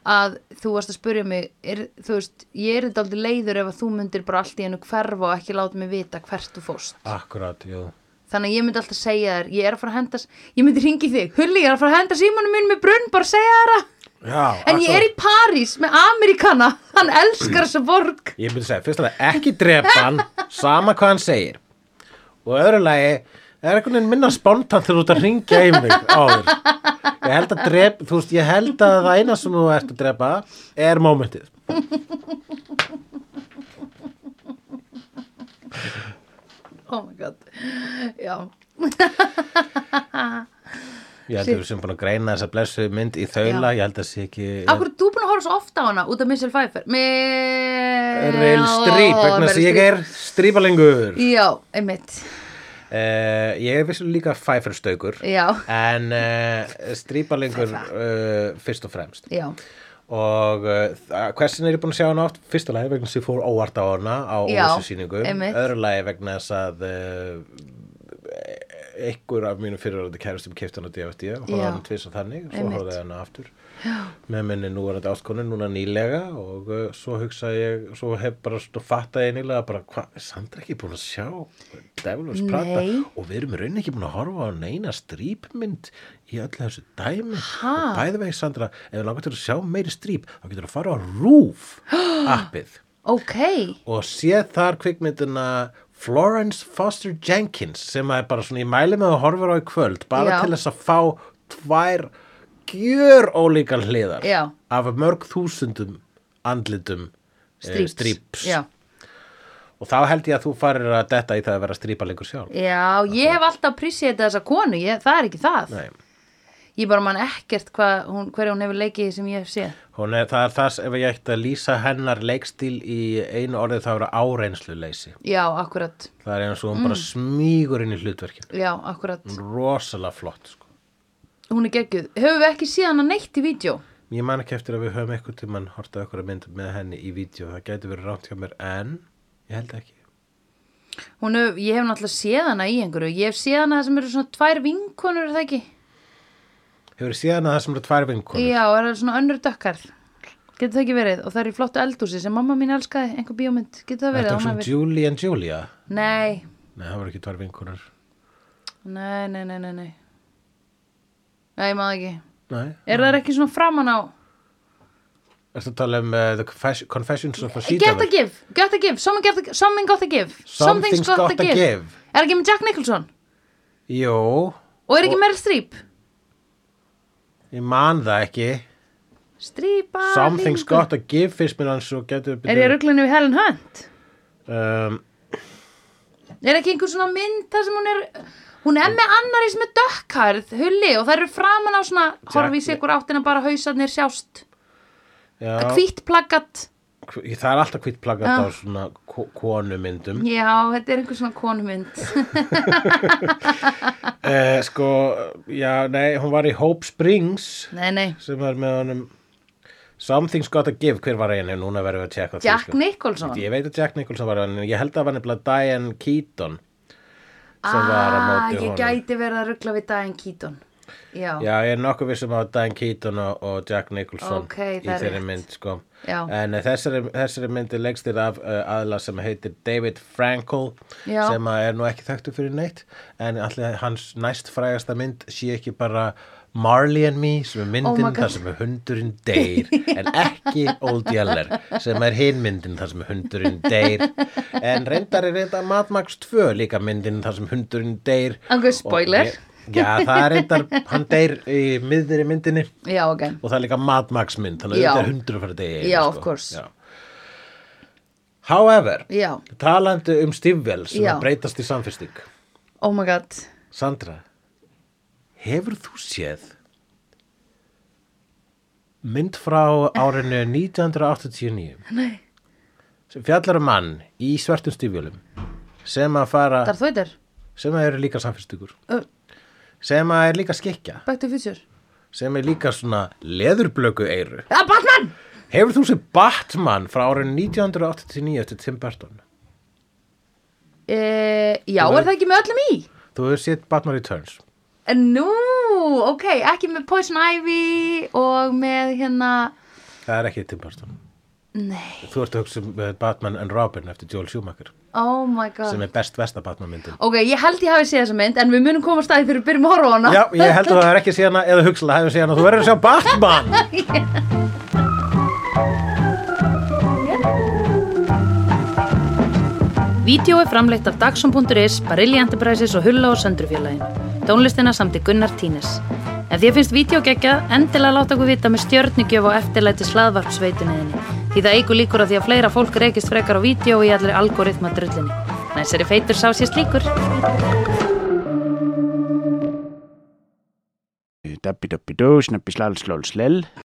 B: að þú varst að spurja mig, er, þú veist, ég er þetta aldrei leiður ef að þú myndir bara allt í hennu hverfa og ekki láta mig vita hvert þú fórst.
A: Akkurát, jú.
B: Þannig að ég myndi alltaf segja þér, ég er að fara að henda, ég myndi ringi þig, hulli, ég er að fara að henda símanum mín með brunn, bara segja þér að.
A: Já,
B: En ég er í París með Amerikana, hann elskar þessa borg.
A: Ég myndi segja, fyrst að það ekki drepa hann, sama hvað hann segir. Og öðru lagi, það er einhvern veginn minna spontant þegar þú ert að ringja í mig áður. Ég held að drep, þú veist, ég held að það eina sem þú ert að drepa er mómentið.
B: Oh my god, já,
A: Ég held að við sem búin að greina þessa blessu mynd í þaula, ég held að sé ekki...
B: Akkur, þú er búin að horfa svo ofta á hana út af Michelle Pfeiffer Með...
A: Real strýp, vegna þess að ég er strýpalengur.
B: Já, einmitt
A: Uh, ég er vissu líka fæferstaukur,
B: Já,
A: en uh, strýpalengur uh, fyrst og fremst.
B: já,
A: og uh, hversin er ég búin að sjá hana oft fyrsta lagi vegna þess að ég fór óvart á hana á
B: Já,
A: óvissu síningu
B: einmitt.
A: öðru lagi vegna þess að uh, einhver af mínu fyrirverandi kærustum kefti hana á DVD og
B: Já.
A: horfði hana tvisa þannig svo
B: Einmitt.
A: horfði ég hana aftur Já. með minni nú er þetta ástkonu núna nýlega og uh, svo hugsaði ég svo hef bara stó fattaði ég nýlega bara hvað, er Sandra ekki búin að sjá Dævlums prata
B: Nei.
A: og við erum í rauninni ekki búin að horfa á neina strípmynd í öllu þessu dæmi
B: Ha?
A: og bæði vegi Sandra ef við langar til að sjá meiri stríp þá getur að fara á RÚF appið
B: ok
A: og sé þar kvikmyndina Florence Foster Jenkins sem er bara svona í mæli með að horfa á í kvöld bara
B: Já.
A: til þess að fá tvær gjör ólíkar hliðar
B: Já.
A: af mörg þúsundum andlitum eh,
B: Stríps,
A: stríps.
B: Já,
A: og þá held ég að þú farir að detta í það að vera strípalengur sjálf
B: já ég hef alltaf prísið þessa konu ég, Það er ekki það
A: Nei.
B: Ég bara man ekkert hvað hún, hverja hún hefur leikið sem ég hef séð
A: Hún er, það er það sem ef ég ætti að lýsa hennar leikstíl í einu orðið það eru áreinsluleysi.
B: Já, akkurat
A: Það er eins og hún bara smýgur inn í hlutverkinu.
B: Já,
A: Mm.
B: akkurat
A: Rosalega flott, sko.
B: Hún er geggjuð Höfum við ekki séð hana neitt í vídeo?
A: Ég man ekki eftir að við höfum eitthvað tímann horta okkur að mynd með henni í vídeo. Það gæti verið rámt hjá mér, en ég held ekki.
B: Hún hef, ég hef náttúrulega séð hana í einhverju Ég hef séð hana það sem eru svona tvær vinkonur er það ekki?
A: Hefur síðan að það sem eru tvær vinkonur?
B: Já, er það svona önnur dökkar Getur það ekki verið? Og það er í flottu eldhúsi sem mamma mín elskaði, einhver bíómynd Getur það verið?
A: Þetta
B: Hún
A: er svona
B: hafi-
A: um Julie and Julia.
B: Nei,
A: Nei, það voru ekki tvær vinkonur.
B: nei, nei, nei, nei Nei, nei maður ekki
A: Nei.
B: Er það ekki svona framan á?
A: Ertu að tala um uh, The Confes- Confessions of a
B: Get a
A: Sheetover?
B: give, get a give, someone, get a, something got a give
A: Something's got to give.
B: Er ekki með Jack Nicholson?
A: Jú,
B: Og er ekki Meryl Streep?
A: ég man það ekki.
B: Streepa
A: Something's got to give fyrst mér hans og getur
B: Ah, Er ég ruglunni við Helen Hunt?
A: um,
B: Er ekki einhver svona mynd þar sem hún er Hún er með annari sem er dökkarð Hulli og það eru framan á svona Horfi í sigur áttina bara hausarnir sjást
A: já,
B: Hvítt plaggat
A: hví- það er alltaf hvitt plaggat á svona ko- konumyndum
B: Ah. Já, þetta er einhver svona konumynd
A: uh, sko, já, nei, hún var í Hope Springs
B: Nei, nei,
A: sem var með honum Something's got to give, hver var einu núna verðum við að tjekka því,
B: Jack
A: sko.
B: Nicholson
A: ég veit að Jack Nicholson var hann ég held að það var nefnilega Diane Keaton sem var að
B: Ah,
A: móti
B: ég
A: honum
B: gæti verið að ruggla við Diane Keaton Já,
A: já, ég er nokkuð vissum að Diane Keaton og, og Jack Nicholson
B: Ok,
A: í
B: það er
A: þeirri
B: rétt.
A: mynd sko.
B: Já.
A: En eh, þessari, þessari myndi legstir af uh, aðla sem heitir David Frankel
B: Já.
A: sem að er nú ekki þekktu fyrir neitt en allir hans næst frægasta mynd sé ekki bara Marley and Me sem er
B: Oh my
A: myndin
B: God.
A: þar sem er hundurinn deyr en ekki Old Yeller sem er hinn myndin þar sem er hundurinn deyr en reyndar er þetta Mad Max 2 líka myndin þar sem hundurinn deyr
B: Ok, spoiler.
A: og, ég- Já, það er reyndar, hann deyr í miðri myndinni
B: já, ok
A: og það er líka Mad Max mynd þannig að
B: Já.
A: þetta er hundru fyrir degi
B: Já, of course.
A: sko. However,
B: Já.
A: talandi um stífvel sem
B: Já.
A: að breytast í samfyrsting
B: Oh my god
A: Sandra, hefur þú séð mynd frá árinu 1989
B: Nei,
A: sem fjallar um mann í svertum stífjölum sem að fara,
B: Darth Vader,
A: sem að eru líka samfyrstingur
B: uh,
A: sem að er líka skikja
B: Back to the Future
A: sem er líka svona leðurblöku eiru
B: Ah, Batman!
A: Hefur þú séð Batman frá árið 1989 eftir Tim Burton?
B: Uh, já, er það ekki með öllum í? Eh,
A: Þú hefur séð Batman Returns.
B: Nú, ok, ekki með Poison Ivy og með hérna
A: Það er ekki Tim Burton.
B: Nei,
A: Þú ert að hugsa um eh, Batman and Robin eftir Joel Schumacher
B: oh my
A: sem
B: god
A: er best vesta Batman myndin.
B: Ok, ég held ég hafi séð þessa mynd en við munum koma að staði fyrir við byrjum að horfa á hana
A: Já, ég held að það er ekki síðan eða hugsaðlega hefur síðan að þú verður að sjá Batman!
C: Vídeó er framleitt af Dagsum.is, Barilli Enterprises og Hulla og Söndrufjörlægin. Tónlistina samt í Gunnar Tínes. Ef því finnst vídeo geggja, endilega láta okkur vita með stjörnugjöf og eftirlæti slaðvarpsveituninni. Því það eigur líkur að því að fleira fólk reykist frekar á vídeo í allir algoritma drullinni. Næsari feitur sá sér slíkur.
D: Dabbi dabbi dó, snabbi slal slal slel